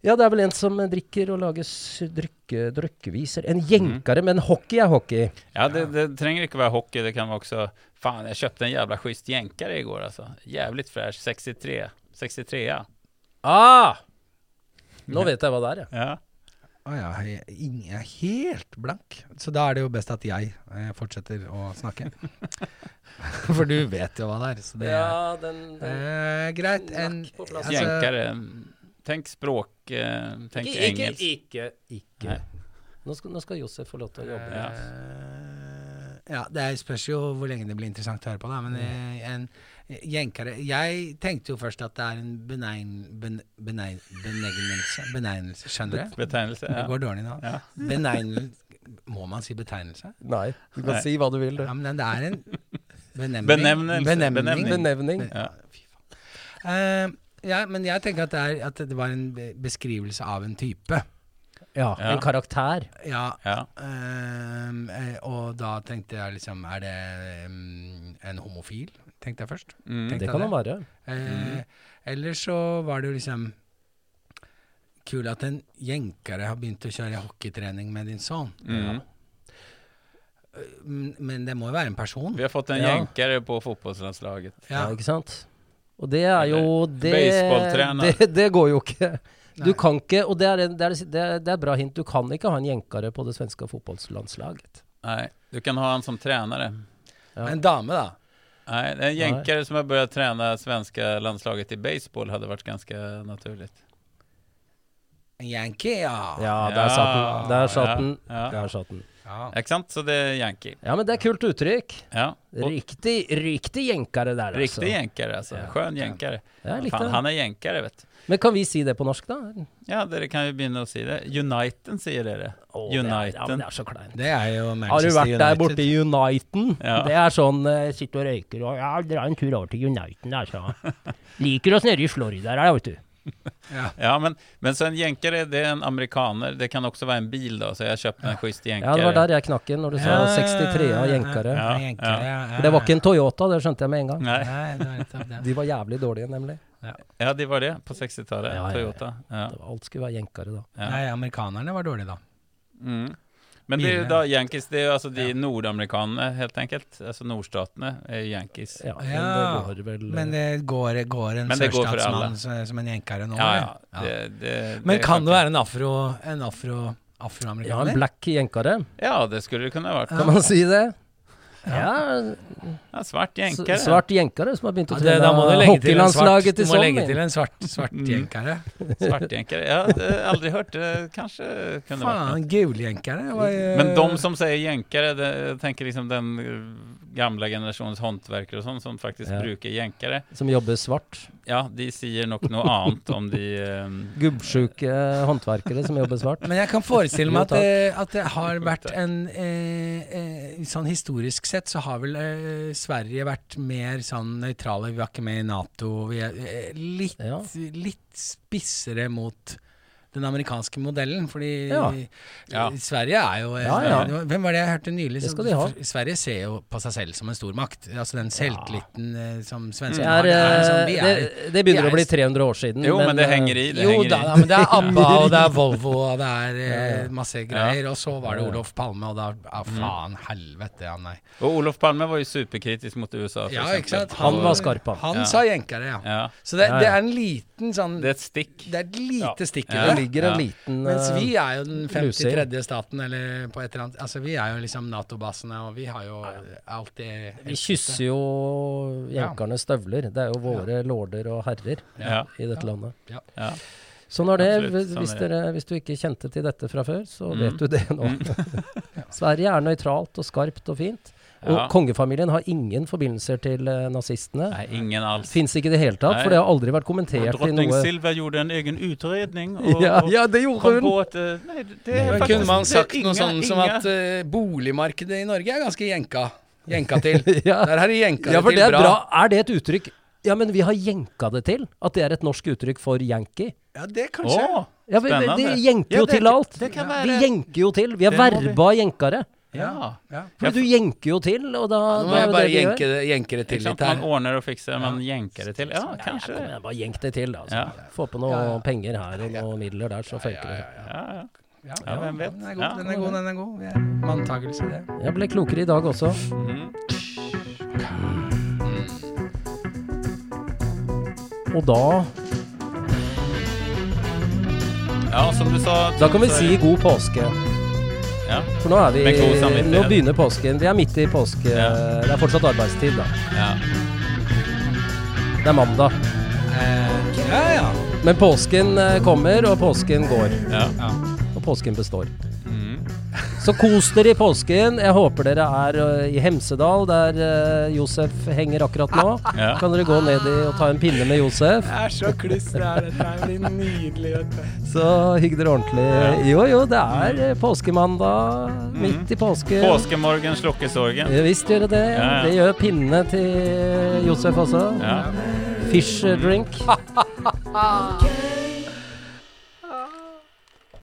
Speaker 2: Ja, det er vel en som drikker og lager s- drikke, drøkkeviser. En jenkare, men hockey er hockey.
Speaker 3: Ja, det, det tränger inte vara hockey, det kan vara också... Fan, jag köpte en jävla schysst jänkare igår alltså. Jävligt fräsch, 63. 63 ja.
Speaker 2: Ah! Nå vet jeg hva det er, jeg.
Speaker 3: Ja.
Speaker 1: Å ja, jeg ingen- jeg er helt blank. Så da er det jo best at jeg eh, fortsetter å snakke. For du vet jo hva det er. Så det er
Speaker 2: Ja, den,
Speaker 1: eh, greit. En,
Speaker 2: Snakk på plass.
Speaker 1: altså-
Speaker 3: Jänkare. Tänk språk, eh, tänk
Speaker 2: ikke, ikke,
Speaker 3: engelsk.
Speaker 2: ikke, ikke.
Speaker 3: Nei.
Speaker 2: Nå skal, nå skal Josef få lov til å jobbe.
Speaker 3: Ja.
Speaker 1: Eh, ja, det er- spørs jo hvor lenge det blir interessant å høre på, da. Men eh, en jenkere Jeg tenkte jo først at det er en benegn... Ben, benegn benegnelse. Benegnelse. Skjønner du?
Speaker 3: Betegnelse.
Speaker 1: Det
Speaker 3: Ja.
Speaker 1: går dårlig nå.
Speaker 3: Ja.
Speaker 1: Benegnelse Må man si betegnelse?
Speaker 2: Nei, du kan
Speaker 3: Nei.
Speaker 2: si hva du vil, du.
Speaker 1: Ja, men det er en benemning.
Speaker 3: Benevnelse,
Speaker 1: Benemning.
Speaker 3: benevning.
Speaker 2: Benevning.
Speaker 3: Ja.
Speaker 1: Eh, ja, men jeg tenker at det, er, at det var en be- beskrivelse av en type.
Speaker 2: Ja,
Speaker 3: Ja.
Speaker 2: en karakter.
Speaker 1: Ja,
Speaker 3: Ja.
Speaker 1: Ehm, eh, og da tenkte jeg liksom Er det ehm, en homofil? Tenkte jeg først.
Speaker 3: Mm.
Speaker 1: Tenkte
Speaker 2: Det
Speaker 1: jeg
Speaker 2: kan han være.
Speaker 1: Eh, Eller så var det jo liksom Kul at en jenkere har begynt å kjøre hockeytrening med din sønn.
Speaker 3: Mm.
Speaker 1: Men- Men det må jo være en person.
Speaker 3: Vi har fått en
Speaker 2: Ja.
Speaker 3: jänkare på fotbollslandslaget.
Speaker 2: Ja.
Speaker 1: Ja.
Speaker 2: ikke sant? Og det er jo det,
Speaker 3: baseballtrener.
Speaker 2: det, det går jo ikke. Du
Speaker 1: Nei.
Speaker 2: kan ikke, og det er, en- det, er, det, er, det er et bra hint, du kan ikke ha en jenkare på det svenske fotballlandslaget.
Speaker 3: Nej, du kan ha han som tränare.
Speaker 2: Ja.
Speaker 1: En dame, da.
Speaker 3: Nej, en jänkare som har börjat träna svenska landslaget i baseball hade varit ganska naturligt.
Speaker 1: En yankee, ja.
Speaker 2: Ja, der satt den. Der satt den.
Speaker 3: Ja, ja.
Speaker 2: Der satt den.
Speaker 1: Ja.
Speaker 3: Exakt, så det är yankee.
Speaker 2: Ja, men det er kult uttrykk.
Speaker 3: Ja. Och
Speaker 2: Riktig, riktig jenkare der, altså.
Speaker 3: Riktig jänkare alltså,
Speaker 2: Ja.
Speaker 3: skön jänkare.
Speaker 2: Jeg likte
Speaker 3: Fan,
Speaker 2: det.
Speaker 3: han är jänkare vet du.
Speaker 2: Men kan vi si det på norsk, da?
Speaker 3: Ja, det det kan vi begynna att säga det. Uniten säger det det.
Speaker 2: Å, det er, ja, men
Speaker 3: Uniten.
Speaker 2: det er så kleint.
Speaker 1: Det er jo Manchester
Speaker 2: Har du vært
Speaker 1: United.
Speaker 2: der borte i Uniten?
Speaker 3: Ja.
Speaker 2: Det er sånn eh, sitter og røyker og ja, dra en tur over til Uniten, der, så. Liker oss nede i Florida, der, vet du.
Speaker 1: Ja.
Speaker 3: Ja, men, men så en jänkare, det är en amerikaner. Det kan också vara en bil då, så jag köpte en schysst jänkare.
Speaker 2: Ja, det var der jeg knakk inn, når du sa 63 av jenkere.
Speaker 3: Ja,
Speaker 1: En jenkere,
Speaker 3: ja.
Speaker 1: ja, ja.
Speaker 2: For det var ikke en Toyota, det skjønte jeg med en gang.
Speaker 3: Nej.
Speaker 1: Nei, det var nettopp det.
Speaker 2: De var jævlig dårlige, nemlig.
Speaker 3: Ja, det var det på 60-talet.
Speaker 2: Ja, ja, ja.
Speaker 3: Toyota. Ja.
Speaker 2: Det var- Alt skulle være jenkere da.
Speaker 3: Ja.
Speaker 1: Nei, amerikanerne var dårlige, da.
Speaker 3: Mm. Men det är ju
Speaker 1: Bilarna.
Speaker 3: då Yankees, det är ju alltså de nordamerikanerna helt enkelt. Alltså nordstaterna är ju Yankees. Ja,
Speaker 2: Ja, men
Speaker 1: Ja,
Speaker 2: det går vel
Speaker 1: Men det går, går en
Speaker 3: Men det går for alle.
Speaker 1: sørstatsmann som, som en jenkere nå?
Speaker 3: ja.
Speaker 1: eller? Ja.
Speaker 3: Det, det,
Speaker 1: Men
Speaker 3: det
Speaker 1: kan det
Speaker 3: sjunker.
Speaker 1: være en afro... En afro
Speaker 2: Ja, en
Speaker 1: afroamerikaner?
Speaker 2: black jenkare,
Speaker 3: Ja, det skulle det kunna ha varit.
Speaker 2: kan man si det? Ja,
Speaker 3: Ja, svart
Speaker 2: s-
Speaker 3: jänkare.
Speaker 2: svart jenkere som har begynt å
Speaker 1: Ja, det- da må du
Speaker 2: trene
Speaker 1: legge til en svart,
Speaker 2: hockeylandslaget
Speaker 1: du
Speaker 2: til
Speaker 1: må legge til
Speaker 2: sommer.
Speaker 1: en svart, svart
Speaker 3: Mm.
Speaker 1: jenkere.
Speaker 3: svart jänkare. Jag hade aldrig hört det. Kanske kunde ha varit
Speaker 1: Faen,
Speaker 3: något.
Speaker 1: guljenkere var jo
Speaker 3: Men de som säger jänkare, det, jag tänker liksom den eh, gamla generationens hantverkare och sånt som faktiskt
Speaker 2: Ja.
Speaker 3: brukar jänkare.
Speaker 2: Som jobber svart.
Speaker 3: Ja, de säger nog något annat om de... ehm,
Speaker 2: Mm, Gubbsjuke håndverkere som jobber svart.
Speaker 1: Men jeg kan forestille
Speaker 2: Jo,
Speaker 1: meg at,
Speaker 2: takk.
Speaker 1: det- at det har vært en eh, eh, Sånn historisk sett så har vel eh, Sverige vært mer sånn nøytrale. Vi var ikke med i Nato. Vi er eh, litt,
Speaker 2: Ja.
Speaker 1: litt spissere mot den amerikanske modellen, fordi
Speaker 2: Ja.
Speaker 1: eh,
Speaker 3: Ja.
Speaker 1: Sverige er jo eh,
Speaker 2: Ja, ja.
Speaker 1: det var- Hvem var det jeg hørte nylig?
Speaker 2: Det
Speaker 1: som-
Speaker 2: skal de ha.
Speaker 1: f- Sverige ser jo på seg selv som en stormakt. Altså den selvtilliten eh, som
Speaker 2: Det,
Speaker 1: svenskene har.
Speaker 2: er,
Speaker 1: Det er sånn, vi
Speaker 2: eh,
Speaker 1: er,
Speaker 2: det, det begynner
Speaker 1: vi er-
Speaker 2: å bli 300 år siden.
Speaker 3: Jo, men det
Speaker 2: eh,
Speaker 3: henger i. Det
Speaker 1: jo
Speaker 3: henger
Speaker 1: da,
Speaker 3: i.
Speaker 1: da, men det er ABBA, og det er Volvo, og det er
Speaker 2: Ja, ja.
Speaker 1: eh, masse greier. Og så var det Olof Palme, og da ah,
Speaker 3: Mm.
Speaker 1: Faen, helvete, ja, nei.
Speaker 3: Och Olof Palme var ju superkritisk mot USA. för
Speaker 1: Ja,
Speaker 3: exempel.
Speaker 1: ikke sant?
Speaker 2: Han var skarp, han.
Speaker 1: Han
Speaker 3: Ja.
Speaker 1: sa jenkere, ja.
Speaker 3: Ja,
Speaker 1: Så det,
Speaker 2: Ja, ja.
Speaker 1: det er en liten sånn
Speaker 3: det är
Speaker 1: Det
Speaker 3: ett stick.
Speaker 1: er et lite stikk i
Speaker 3: Ja.
Speaker 2: Det
Speaker 1: det.
Speaker 2: ligger en
Speaker 3: Ja.
Speaker 2: liten eh,
Speaker 1: Mens vi er jo den
Speaker 2: Luser.
Speaker 1: 53. staten, eller på et eller annet Altså, vi er jo liksom Nato-bassene, og vi har jo alltid
Speaker 2: eh, Vi kysser jo jenkernes støvler. Det er jo våre lorder og herrer
Speaker 3: Ja.
Speaker 2: i dette landet.
Speaker 1: Ja.
Speaker 3: Ja.
Speaker 2: Sånn er det.
Speaker 3: Absolutt, sånn
Speaker 2: Hvis,
Speaker 3: er det.
Speaker 2: dere, hvis du ikke kjente til dette fra før, så
Speaker 1: Mm.
Speaker 2: vet du det nå. Sverige er nøytralt og skarpt og fint. Og
Speaker 3: Ja.
Speaker 2: kongefamilien har ingen forbindelser til eh, nazistene.
Speaker 3: Nej, ingen alls.
Speaker 2: Fins ikke i det hele tatt,
Speaker 3: Nei.
Speaker 2: for det har aldri vært kommentert i
Speaker 3: Drottning
Speaker 2: noe
Speaker 3: Silvia gjorde en egen utredning och,
Speaker 2: ja,
Speaker 3: och
Speaker 2: ja, det
Speaker 3: kom
Speaker 2: gjorde hun!
Speaker 3: på att eh, nej, det är
Speaker 1: Men
Speaker 3: faktiskt
Speaker 1: kunne man
Speaker 3: det är
Speaker 1: sagt
Speaker 3: inga-
Speaker 1: noe sånn som
Speaker 3: inga-
Speaker 1: at eh, boligmarkedet i Norge er ganske jenka? Jenka til.
Speaker 2: Ja.
Speaker 1: Der har de jenka
Speaker 2: Ja, for det
Speaker 1: til
Speaker 2: er bra. Er det et uttrykk Ja, men vi har jenka det til. At det er et norsk uttrykk for yankee.
Speaker 1: Ja, det kanskje.
Speaker 3: Åh,
Speaker 2: Ja, vi, vi,
Speaker 3: Spennende.
Speaker 2: de jenker
Speaker 3: Ja,
Speaker 2: jo
Speaker 3: det-
Speaker 2: til alt.
Speaker 3: det kan
Speaker 2: Vi
Speaker 3: være-
Speaker 2: jenker jo til. Vi er
Speaker 3: Det må vi-
Speaker 2: verba jenkere.
Speaker 3: ja.
Speaker 1: Ja.
Speaker 3: Ja,
Speaker 2: For du jenker jo til, og da
Speaker 1: Nå
Speaker 2: da
Speaker 1: må
Speaker 2: er
Speaker 1: jeg
Speaker 2: jo
Speaker 1: bare
Speaker 2: det vi gjør.
Speaker 1: jenke det, jenke det
Speaker 3: Ikke
Speaker 1: til
Speaker 3: sant?
Speaker 1: litt her.
Speaker 3: Man ordner og fixar, man jänkar det till. Ja,
Speaker 2: Ja,
Speaker 3: kanske.
Speaker 2: kom igjen, bare jenk det til, da. Altså.
Speaker 3: Ja.
Speaker 2: Få på noe penger her og noe midler der, så funker det.
Speaker 3: Ja, ja.
Speaker 1: Ja,
Speaker 3: Ja, hvem vet?
Speaker 1: Den er
Speaker 3: Ja.
Speaker 1: god, den er god. den er god. Vi er Manntagelse, det.
Speaker 2: Jeg ble klokere i dag også.
Speaker 3: Mhm.
Speaker 2: Og da
Speaker 3: ja, som du sa.
Speaker 2: Da kan vi
Speaker 3: så är
Speaker 2: si
Speaker 3: det-
Speaker 2: god påske.
Speaker 3: Ja,
Speaker 2: For nå er vi
Speaker 3: Med god samvittighet.
Speaker 2: Nå begynner påsken. Vi er midt i påske...
Speaker 3: Ja.
Speaker 2: Det er fortsatt arbeidstid, da.
Speaker 3: ja.
Speaker 2: Det er mandag.
Speaker 1: Eh, ja, ja.
Speaker 2: Men påsken eh, kommer, og påsken går.
Speaker 3: ja.
Speaker 2: Og påsken består.
Speaker 3: Mm.
Speaker 2: Så kos dere i påsken. Jeg håper dere er eh, i Hemsedal, der eh, Josef henger akkurat nå.
Speaker 3: Ja.
Speaker 2: Kan dere gå ned i og ta en pinne med Josef.
Speaker 1: Det er så kluss det er. Dette her blir nydelig. vet du.
Speaker 2: Så hygg dere ordentlig. Jo, jo, det er eh, påskemandag
Speaker 3: Mm.
Speaker 2: midt i påsken.
Speaker 3: Påskemorgen, slokkesorgen.
Speaker 2: Ja, visst gjør det det.
Speaker 3: Ja, ja.
Speaker 2: Det gjør pinnene til Josef også.
Speaker 3: Ja.
Speaker 2: Fish eh, drink.